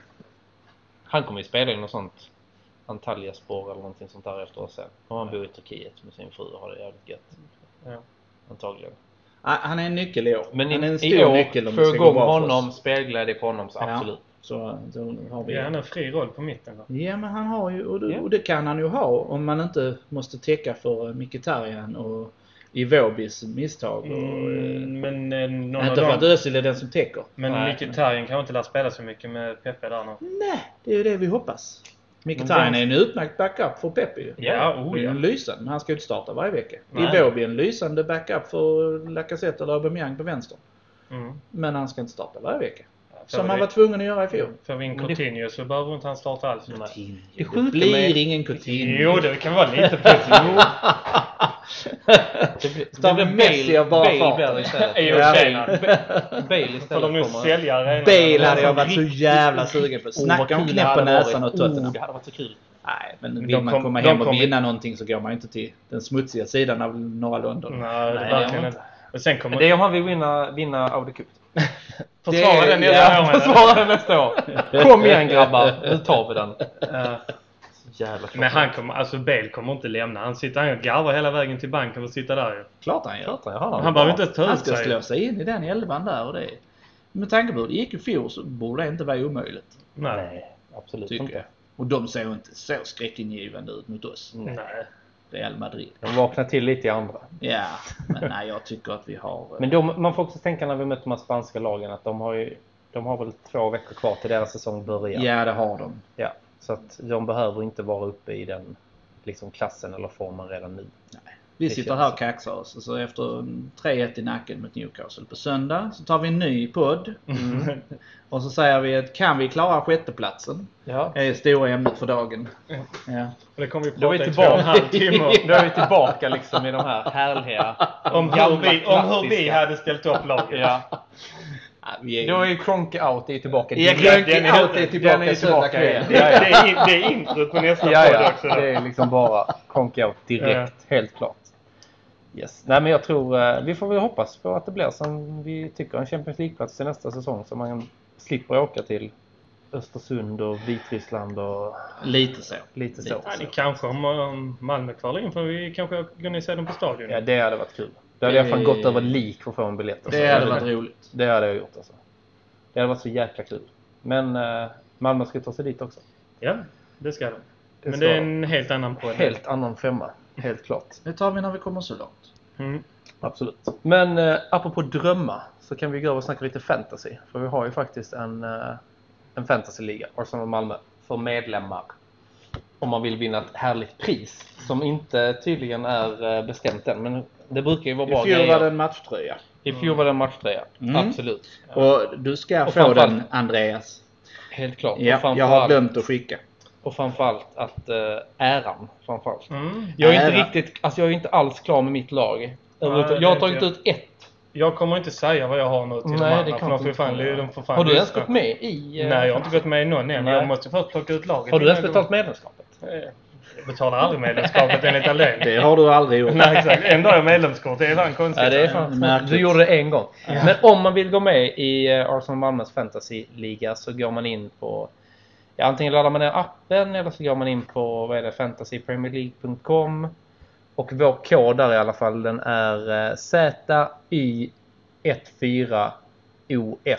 S2: Han kommer ju spela i något sånt Antalyaspor eller någonting sånt där efter oss sen. Och han bor i Turkiet med sin fru och har det jävligt gött.
S4: Ja.
S2: Antagligen.
S3: Ah, Han är en nycel i år.
S2: Men
S3: han är en
S2: i,
S3: stor
S2: i
S3: nyckel
S2: år,
S3: om
S2: få
S3: det ska gå
S2: igång
S3: bra för
S2: honom,
S3: oss.
S2: spelglädje på honom, så
S3: Ja.
S2: absolut.
S3: Så då har vi
S4: Ja, han har fri roll på mitten. Då.
S3: Ja, men han har ju, och det,
S2: Ja.
S3: och det kan han ju ha om man inte måste täcka för eh, Mkhitaryan och Ivobis misstag. Och,
S4: Mm, men eh, någon
S3: eh, inte för
S4: av
S3: att
S4: dem...
S3: Özil är den som täcker.
S4: Men
S2: Nej.
S4: Mkhitaryan kanske inte lär spela så mycket med Pepe där nu.
S3: Nej, det är ju det vi hoppas. Mkhitaryan är en utmärkt backup för Pepe ju.
S4: Ja, oh
S3: Det är
S4: ja.
S3: en lysande, men han ska ju inte starta varje vecka.
S4: Nej.
S3: Iwobi är en lysande backup för Lacazette eller Aubameyang på vänster.
S4: Mm.
S3: Men han ska inte starta varje vecka.
S4: Får
S3: Som han
S4: vi-
S3: var tvungen att göra i fjol.
S4: Får vi in
S2: Men det-
S4: Coutinho så behöver inte han starta alls.
S2: Det
S3: Det,
S2: sjuka med-
S3: blir ingen Coutinho.
S4: Jo, det kan vara lite positivt.
S2: Det blir,
S3: Utan Messi av bara farten.
S2: blir det istället.
S4: I och för sig, ja.
S2: Bale istället.
S4: Får de nu
S2: kommer-
S4: sälja arenan?
S3: Bale hade jag varit så jävla sugen på.
S2: Åh, vad
S3: Snacka om
S2: kul
S3: knäpp
S2: det
S3: på
S2: hade
S3: näsan
S2: varit.
S3: åt Tottenham.
S2: Oh, det hade varit så kul.
S3: Nej, men
S4: Men
S3: vill
S4: de
S3: man
S4: kom-
S3: komma
S4: de
S3: hem och
S4: kom-
S3: vinna någonting så går man ju inte till den smutsiga sidan av norra London.
S4: Nej, det
S2: Nej,
S4: verkar
S2: det
S4: inte. Och sen kommer...
S2: Men det är om han vill vinna, vinna Audi Cup.
S4: Försvara den
S2: Ja,
S4: jävla åren.
S2: försvara den nästa år. Kom igen grabbar, nu tar vi den.
S4: Ja.
S2: Så jävla klart.
S4: Men han kommer... Alltså Bale kommer inte lämna. Han sitter... Han garvar hela vägen till banken och sitter där ju.
S3: Klart han gör.
S2: Klart jag har
S4: Han behöver inte ens ta
S3: Han
S4: ut
S3: ska
S4: sig.
S3: slå sig in i den elvan där och det. Med tanke på hur det gick i fjol så borde det inte vara omöjligt.
S4: Nej.
S2: Nej, absolut
S3: Tycker jag.
S2: inte.
S3: Och de ser ju inte så skräckingivande ut mot oss.
S2: Nej.
S4: Nej.
S3: Real Madrid.
S2: Mm. De vaknar till lite i andra.
S3: Ja, men nej jag tycker att vi har... eh,
S2: Men de, man får också tänka när vi möter de här spanska lagen att de har ju de har väl två veckor kvar till deras säsong börjar.
S3: Ja, det har de.
S2: Ja, så att de behöver inte vara uppe i den liksom, klassen eller formen redan nu.
S3: Vi
S2: Det
S3: sitter
S2: känns
S3: här
S2: så.
S3: och kaxar oss. Alltså efter 3-1 i nacken mot Newcastle på söndag så tar vi en ny podd.
S4: Mm.
S3: Och så säger vi att kan vi klara sjätteplatsen?
S2: Ja.
S3: Det är stora ämnet för dagen. Ja.
S4: Och det kommer vi
S2: Då är
S4: prata
S2: vi
S4: i två och en halv timme om.
S2: tillbaka, då är vi tillbaka liksom i de här härliga...
S4: om hur,
S2: gamla
S4: vi, om hur vi
S2: klassiska.
S4: hade ställt upp laget.
S2: Ja.
S3: Ja, vi är...
S2: Då är ju Kronke out, det är ju tillbaka.
S3: Ja,
S2: direkt.
S3: Kronke
S2: Den
S3: out är
S2: den
S3: tillbaka
S2: är ju tillbaka
S3: söndag kväll.
S2: igen.
S4: Det,
S2: Ja,
S4: är- det,
S2: ja.
S4: är, in- det är introt på nästa
S2: Ja,
S4: podd också.
S2: ja. Det är liksom bara Kronke out direkt, helt klart. Yes. Nej, men jag tror eh, vi får väl hoppas på att det blir som vi tycker, en Champions League-plats till nästa säsong så man slipper åka till Östersund och Vitryssland och
S3: Lite så.
S2: lite så.
S4: Ja, det kanske om um, Malmö kvalar in för vi kanske går ner och ser dem på stadion.
S2: Ja, det hade varit kul. Då hade jag fan gått över lik för att få en biljett. alltså.
S3: Det hade varit roligt.
S2: Det hade jag gjort alltså. Det hade varit så jäkla kul. Men eh, Malmö ska ta sig dit också.
S4: Ja, det ska de.
S2: Det
S4: Men
S2: ska
S4: det är en helt annan poäng.
S2: Helt annan femma. Helt klart.
S3: Det tar vi när vi kommer så långt.
S4: Mm.
S2: Absolut. Men eh, apropå drömma så kan vi gå över och snacka lite fantasy. För vi har ju faktiskt en, eh, en fantasyliga, Arsenal Malmö, för medlemmar. Om man vill vinna ett härligt pris som inte tydligen är eh, bestämt än. Men det brukar ju vara
S3: I
S2: bra
S3: fjol var
S2: grejer.
S3: det en matchtröja.
S2: I fjol var det en matchtröja.
S3: Mm.
S2: Absolut.
S3: Och du ska
S2: Och
S3: få den
S2: framförallt-
S3: Andreas.
S2: Helt klart. och,
S3: Ja, jag har
S2: framförallt,
S3: glömt att skicka.
S2: och framförallt att eh, äran. Framförallt.
S4: Mm.
S2: Jag är, inte
S3: Ära.
S2: riktigt, alltså jag är inte alls klar med mitt lag.
S4: Nej,
S2: jag har
S4: det
S2: tagit
S4: vet
S2: ut ett.
S4: Jag kommer inte säga vad jag har nu till de
S2: Nej, det
S4: andra. för
S2: kan
S4: de får
S2: inte
S4: ju fan-
S2: vara.
S4: de får fan
S2: Har du ens
S4: lyssna.
S2: gått med i... eh,
S4: Nej, jag har inte gått med i någon än.
S2: Nej.
S4: Jag måste först plocka ut laget.
S2: Har du ens
S4: innan jag
S2: betalt medlemskapet?
S4: går- Eh, Jag betalar aldrig medlemskapet enligt Allén.
S3: Det har du aldrig gjort.
S4: Nej, exakt. Ändå har jag medlemskort. Det är fan konstigt.
S2: Ja, det är
S3: fan
S2: fan
S3: märkligt.
S2: Du gjorde det en gång. Men om man vill gå med i eh, Arsenal Malmös fantasyliga så går man in på... Ja, antingen laddar man ner appen eller så går man in på vad är det, fantasypremierleague.com Och vår kod där i alla fall den är eh, ZY14OF.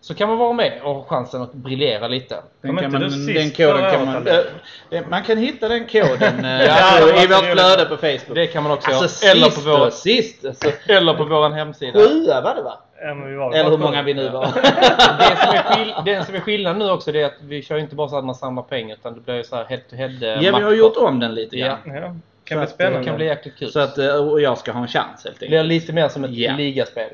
S2: Så kan man vara med och ha chansen att briljera lite.
S3: Den,
S4: Kom
S3: kan
S4: inte
S3: man,
S4: du sist
S3: den koden
S4: förra
S3: kan
S4: året,
S3: man...
S4: eller?
S3: eh, Man kan hitta den koden eh,
S2: Ja, det var
S3: i vårt
S4: roligt.
S3: flöde på Facebook.
S2: Det kan man också
S3: Alltså,
S2: göra. Eller på,
S3: sist
S2: vår,
S3: då, sist! Alltså,
S2: eller på våran hemsida.
S3: Sjua var det va?
S4: Ja, men vi var-
S3: Eller hur många vi nu var.
S2: Det som, är skill- det som är skillnaden nu också det är att vi kör ju inte bara så att man samlar pengar utan det blir ju så här head to head
S3: Ja, vi har gjort om den lite grann.
S4: Ja,
S2: kan
S4: kan
S2: bli
S3: eh,
S4: bli
S2: Det
S4: spännande.
S2: kan bli jäkligt kul.
S3: Så att eh, och jag ska ha en chans helt
S2: det
S3: enkelt.
S2: blir lite mer som ett
S3: Ja.
S2: ligaspel.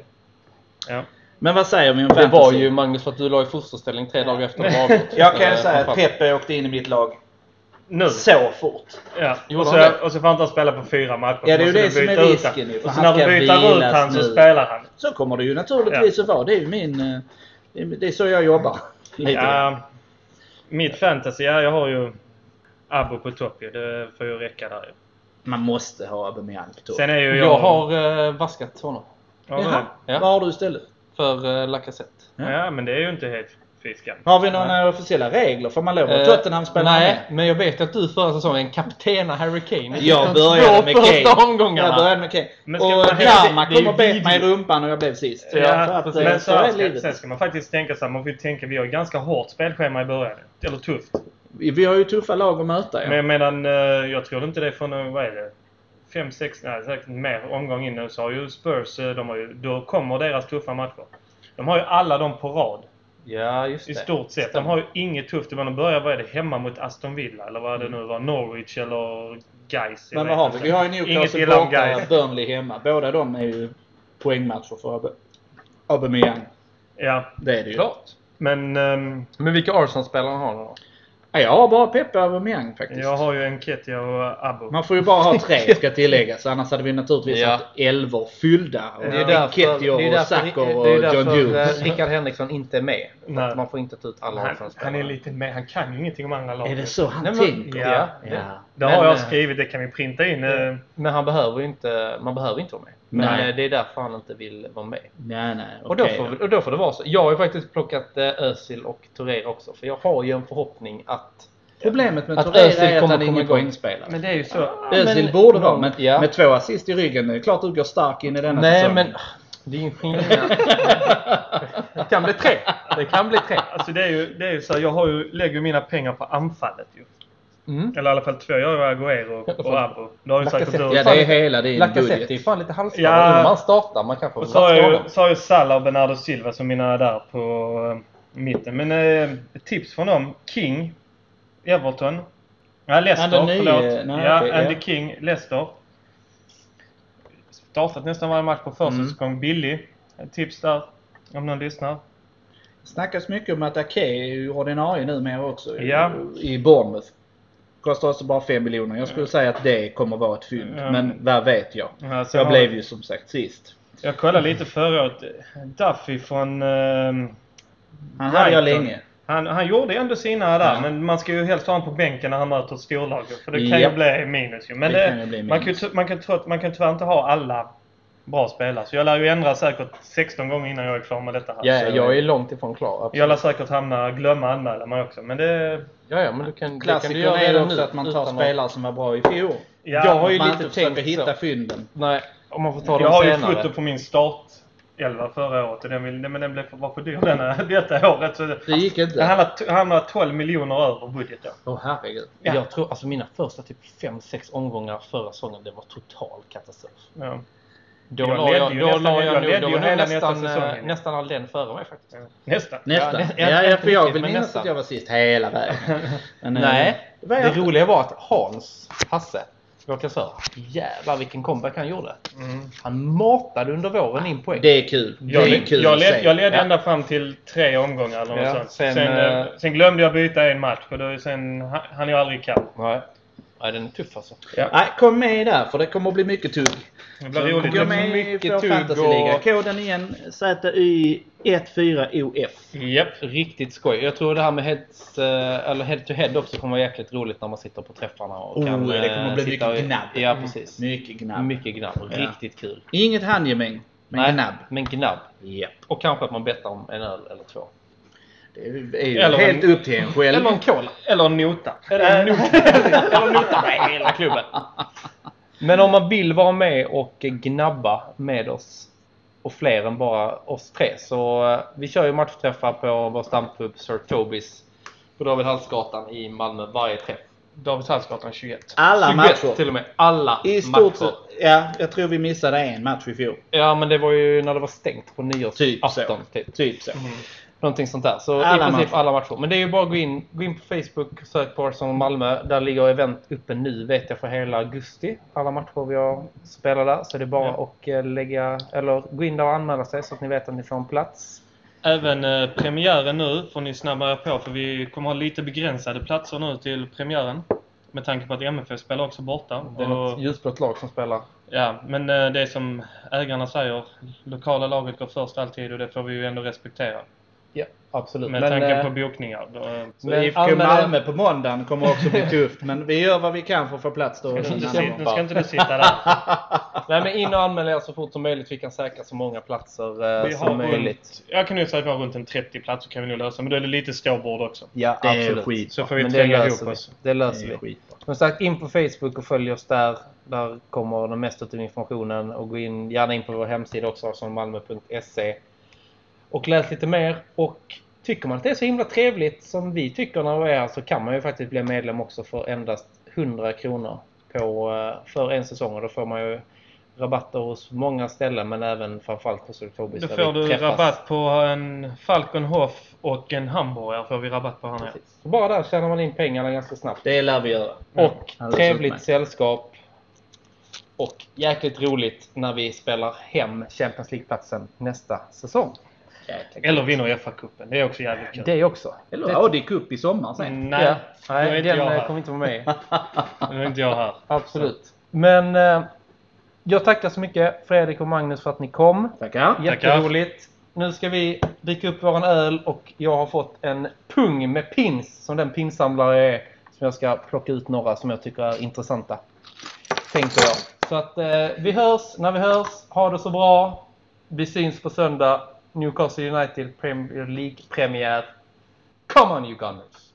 S4: Ja.
S3: Men vad säger vi om
S2: Det
S3: fantasy?
S2: var ju Magnus för att du la i fosterställning tre dagar efter det var avgjort.
S3: Jag kan ju
S2: Eh,
S3: säga att
S2: framförallt.
S3: Peppe åkte in i mitt lag
S4: Nu?
S3: så fort.
S4: Ja.
S2: Gjorde
S4: Och
S2: han det?
S4: så, och så får inte han spela på fyra matcher.
S3: Ja, det är ju
S4: Så måste
S3: det
S4: du
S3: som är
S4: byta ut
S3: risken
S4: han.
S3: ju, för
S4: Och så
S3: han
S4: när du
S3: ska
S4: byter ut
S3: vilas
S4: han så
S3: nu.
S4: spelar han.
S3: Så kommer det ju naturligtvis att vara. Det är ju min... eh, det är- Det är så jag jobbar. Lite grann.
S4: Ja, mitt fantasy, ja, jag har ju Abbo på topp ju. Det får ju räcka där ju.
S3: Man måste ha Aubameyang på topp.
S4: Sen är ju jag...
S2: Jag har eh, vaskat honom.
S4: Ja,
S3: Jaha,
S2: Ja.
S3: vad har du istället?
S2: För uh, Lacazette.
S4: men- ja, men det är ju inte helt fiskan.
S3: Har vi några officiella regler? Får man lov att
S2: Eh,
S3: Tottenham-spelare
S2: Nej,
S3: med?
S2: men jag vet att du förra säsongen kaptena Harry Kane.
S3: Jag började med
S2: Två första
S3: Kane.
S2: omgångarna.
S3: Jag började med Kane.
S4: Men ska man-
S3: Och Bjarma
S4: det är ju
S3: kom och bet
S4: video.
S3: mig i rumpan och jag blev sist.
S4: Ja,
S3: för att, eh,
S4: men så
S3: är
S4: här ska,
S3: livet.
S4: sen ska man faktiskt tänka så här, man får ju tänka, vi har ju ganska hårt spelschema i början. Eller tufft.
S3: Vi har ju tuffa lag att möta. Ja.
S4: Men medan eh, jag tror inte det är från, eh, vad är det? fem sex nej säkert mer omgång in nu så har ju Spurs, eh, de har ju, då kommer deras tuffa matcher. De har ju alla dem på rad.
S2: Ja, just det.
S4: I stort sett. De har ju inget tufft. Men de börjar, vad är det, hemma mot Aston Villa? Eller vad det nu var? Norwich eller Gais? jag
S3: Mm. Men vad
S4: vet
S3: har vi?
S4: inte.
S3: Vi har ju
S4: Inget
S3: Newcastle
S4: illa om
S3: borta
S4: Gais.
S3: och Burnley hemma. Båda de är ju poängmatcher för Aube- Aubameyang.
S4: Ja,
S3: Det är det ju.
S2: Klart.
S4: men ehm,
S2: Men vilka Arsenal-spelare har ni då?
S3: Ja, Jag har bara Peppe Aubameyang faktiskt.
S4: jag har ju Enketia och Abbo.
S3: Man får ju bara ha tre ska tilläggas. Annars hade vi naturligtvis
S2: Ja.
S3: haft elvor fyllda. Och
S4: Ja.
S3: ja.
S4: Det
S2: Det är
S3: Kettier
S2: därför, det är
S3: och
S2: därför,
S3: Sacker
S2: det
S3: och
S2: är
S3: John
S2: därför
S3: Jones.
S2: eh, Rickard Henriksson inte är med. För
S4: Nej.
S2: att man får inte ta ut alla
S4: Han,
S2: Arsenal-spelare.
S4: han är lite med. Han kan ju ingenting om andra lag.
S3: Är det så han
S2: Nej, men-
S3: tänker?
S4: Ja.
S3: Ja.
S4: Det
S2: Men,
S4: har jag
S2: eh,
S4: skrivit. Det kan vi printa in. eh,
S2: Men han behöver ju inte, man behöver inte vara med. Men
S3: Nej.
S2: eh, det är därför han inte vill vara med.
S3: Nej, nej.
S2: Och då,
S3: okej
S2: får,
S3: då.
S2: vi- och då får det vara så. Jag har ju faktiskt plockat eh, Özil och Torreira också. För jag har ju en förhoppning att...
S3: Problemet med
S2: Att
S3: Torreira
S2: Özil
S3: är att
S2: kommer
S3: han
S2: komma
S3: är ingen
S2: igång.
S3: poängspelare.
S4: Men det är ju så.
S3: Özil
S2: Ah, men-
S3: borde vara, men
S2: Ja.
S3: med två assist i ryggen, det är klart du går stark in i denna
S2: Nej
S3: säsongen.
S2: men... Ah, Det är ju skillnad. Det kan bli tre. Det kan bli tre.
S4: Alltså det är ju, det är ju så här, jag har ju, lägger ju mina pengar på anfallet ju.
S2: Mm.
S4: Eller i alla fall två. Jag har ju Aguero och Abbo. Det har ju säkert
S2: Lacazette.
S4: du.
S3: Ja, det är hela din
S2: Lacazette är ju
S3: budget.
S2: fan lite halvskadad.
S4: Ja.
S2: Undrar om han startar. Man kanske
S4: Och så har jag
S2: honom.
S4: ju, så har jag Salah och Bernardo Silva som mina där på eh, mitten. Men eh, ett tips från dem. King, Everton. Ja, Leicester,
S3: Ja, den nye-
S4: förlåt.
S3: nej,
S4: ja,
S3: okej,
S4: Andy
S3: ja.
S4: King, Leicester. Startat nästan varje match på försäsong.
S3: Mm.
S4: Billig. Ett tips där. Om någon lyssnar.
S3: Snackas mycket om att Ake är ju ordinarie numera också i-
S4: Ja.
S3: i Bournemouth. Kostar också bara 5 miljoner. Jag skulle säga att det kommer vara ett fynd.
S4: Ja.
S3: Men vad vet jag?
S4: Ja, sen
S3: Jag
S4: alltså, har-
S3: blev ju som sagt sist.
S4: Jag kollade lite förra året. Duffy från... eh,
S3: Han hade jag
S4: Brighton.
S3: länge.
S4: Han, han gjorde ändå sina där,
S3: Ja.
S4: men man ska ju helst ha honom på bänken när han möter ett storlag. För det kan
S3: Ja.
S4: ju bli minus ju. Men
S3: Det
S4: det
S3: kan ju bli
S4: Man, kan ju,
S3: minus.
S4: ty- man, kan, tro att- man kan tyvärr inte ha alla bra spelare. Så jag lär ju ändra säkert 16 gånger innan jag är klar med detta här.
S2: Ja,
S4: Så
S2: jag är långt ifrån klar. absolut.
S4: Alltså, eh, jag lär säkert hamna, glömma anmäla mig också. Men det...
S2: Ja, ja, men du kan, det kan du
S3: Klassikern
S2: göra
S3: är
S2: redan
S3: också
S2: nu
S3: att man tar
S2: utan att-
S3: spelare som var bra i fjol.
S4: Ja,
S2: Jag har ju
S3: man
S2: lite
S3: inte försöker
S2: tänkt
S3: hitta
S2: så.
S3: fynden.
S2: Nej, om man får ta
S4: Jag har
S2: dem
S4: ju
S2: senare.
S4: foto på min start 11 förra året och den, vill, men den blev, för- var för dyr den här, detta året. Så det,
S3: Det gick
S4: det
S3: inte.
S4: hamnade, t- hamnade 12 miljoner över budgeten.
S3: Åh herregud.
S4: Ja.
S2: Jag tror alltså mina första typ 5-6 omgångar förra säsongen, det var total katastrof.
S4: Ja.
S2: Då
S4: Jag
S2: la jag,
S4: ledde ju
S2: då
S4: nästan-
S2: la
S4: jag
S2: jag, nog-
S4: ledde
S2: då
S4: ju
S2: var nog
S4: hela nästa
S2: nästan, eh,
S4: säsongen.
S2: nästan all den före mig faktiskt.
S4: Nästan.
S3: Nästan.
S2: Ja,
S3: Ja,
S2: nä-
S3: ja,
S2: inte
S3: för jag
S2: riktigt,
S3: vill
S2: men
S3: minnas
S2: nästan.
S3: att jag var sist hela vägen. Men, eh,
S2: Nej,
S3: det var
S2: det
S3: jag inte.
S2: roliga var att Hans, Hasse, vår kassör, jävlar vilken comeback han gjorde.
S4: Mm.
S2: Han matade under våren in poäng.
S3: Det är kul. Det
S4: Jag,
S3: är kul
S4: jag,
S3: att
S4: led,
S3: se.
S4: jag ledde
S2: Ja.
S4: ända fram till tre omgångar eller något
S2: Ja,
S4: sånt.
S2: sen,
S4: Sen, sen, eh,
S2: eh,
S4: sen glömde jag byta en match och då, sen han jag aldrig ikapp.
S2: Nej. Nej, den är tuff alltså.
S4: Ja.
S3: Nej, kom med där för det kommer att bli mycket tugg.
S4: Det
S2: Så
S4: blir roligt.
S2: går
S3: Gå
S2: blir
S3: med i
S2: mycket
S3: vår
S2: tugg
S3: fantasyliga.
S2: och-
S3: Koden igen ZY14OF.
S4: Japp.
S2: Riktigt skoj. Jag tror det här med heads, eh, eller head to head också kommer vara jäkligt roligt när man sitter på träffarna. Och
S3: Oh,
S2: kan,
S3: det
S2: eh,
S3: kommer bli
S2: sitta
S3: mycket
S2: och-
S3: gnabb. Mm.
S2: Ja, precis.
S3: Mycket gnabb.
S2: Mycket gnabb.
S3: Ja.
S2: Riktigt kul.
S3: Inget handgemäng, men
S2: Nej,
S3: gnabb.
S2: Men gnabb.
S3: Japp. Mm.
S2: Och kanske att man bettar om en öl eller två.
S3: Det är ju
S4: Eller en-
S3: helt upp till en själv.
S2: Eller en cola.
S4: Eller en nota.
S2: Eller nota. Eller nota med hela klubben. Men om man vill vara med och gnabba med oss och fler än bara oss tre så eh, vi kör ju matchträffar på vår stampub Sir Tobis på David Hallsgatan i Malmö varje träff.
S4: David Hallsgatan 21.
S3: Alla
S2: 21
S3: matcher.
S2: till och med. Alla
S3: I stort
S2: matcher.
S3: sett. Ja, jag tror vi missade en match i fjol.
S2: Ja men det var ju när det var stängt på
S3: Typ
S2: nyårsafton. Typ.
S3: Typ så.
S2: Någonting sånt där. Så
S3: Alla
S2: i princip
S3: matcher.
S2: alla matcher. Men det är ju bara att gå in, gå in på Facebook, sök på Arsenal Malmö. Där ligger event uppe nu vet jag för hela augusti. Alla matcher vi har spelat där. Så det är bara att eh, lägga, eller gå in där och anmäla sig så att ni vet att ni får en plats.
S4: Även eh, premiären nu får ni snabba er på för vi kommer ha lite begränsade platser nu till premiären. Med tanke på att MFF spelar också borta.
S2: Det är något
S4: Och,
S2: ljusblått lag som spelar.
S4: ja, men eh, det är som ägarna säger, lokala laget går först alltid och det får vi ju ändå respektera.
S2: Ja, absolut.
S4: Med
S2: men,
S4: tanke
S2: eh,
S4: på bokningar. Då, eh,
S3: Så
S2: Men
S3: IFK
S2: anmäl-
S3: Malmö på måndagen kommer också bli tufft. Men vi gör vad vi kan för att få plats då.
S4: nu ska, inte
S3: innan
S4: du sit-
S3: de-
S4: nu ska inte du sitta där.
S2: nej, men in och anmäl er så fort som möjligt. Vi kan säkra så många platser eh,
S4: Vi
S2: som
S4: har
S2: möjligt.
S4: runt, jag kan nog säga att vi har runt en 30 platser kan vi nog lösa. Men då är det lite ståbord också.
S2: Ja,
S3: Det är
S2: absolut.
S3: skit.
S4: Så får vi
S2: Men det
S4: tränga
S2: löser
S4: ihop
S2: vi.
S4: oss.
S2: Det
S3: Det
S2: löser
S3: är
S2: vi.
S3: skit.
S2: Som sagt, in på Facebook och följ oss där. Där kommer den mesta av informationen. Och gå in, gärna in på vår hemsida också, arsenalmalmo.se. Och läs lite mer. Och tycker man att det är så himla trevligt som vi tycker när vi är här så kan man ju faktiskt bli medlem också för endast 100 kronor på, eh, för en säsong. Och då får man ju rabatter hos många ställen men även framförallt hos Oktobis.
S4: Då
S2: där
S4: får
S2: vi
S4: du
S2: träffas.
S4: rabatt på en Falcon Hoff och en hamburgare får vi rabatt på här nere.
S2: Precis. Bara där tjänar man in pengarna ganska snabbt.
S3: Det lär vi göra.
S2: Och
S3: Alldeles
S2: trevligt
S3: utmärkt.
S2: sällskap. Och jäkligt roligt när vi spelar hem Champions League-platsen nästa säsong.
S4: Eller vinner FA-cupen. Det är också jävligt kul.
S2: Det också.
S3: Eller Audi Cup i sommar sen.
S4: Nej,
S2: ja.
S4: nu är
S2: Nej
S4: inte
S2: den
S4: jag
S2: eh,
S4: här.
S2: kommer inte vara med.
S4: Nu är inte jag här.
S2: Absolut. Men eh, jag tackar så mycket Fredrik och Magnus för att ni kom.
S3: Tackar.
S2: Jätteroligt. Nu ska vi dricka upp våran öl och jag har fått en pung med pins som den pinsamlare jag är. Som jag ska plocka ut några som jag tycker är intressanta. Tänker jag. Så att eh, vi hörs när vi hörs. Ha det så bra. Vi syns på söndag. Newcastle United Premier League-premiär. Come on you gunners!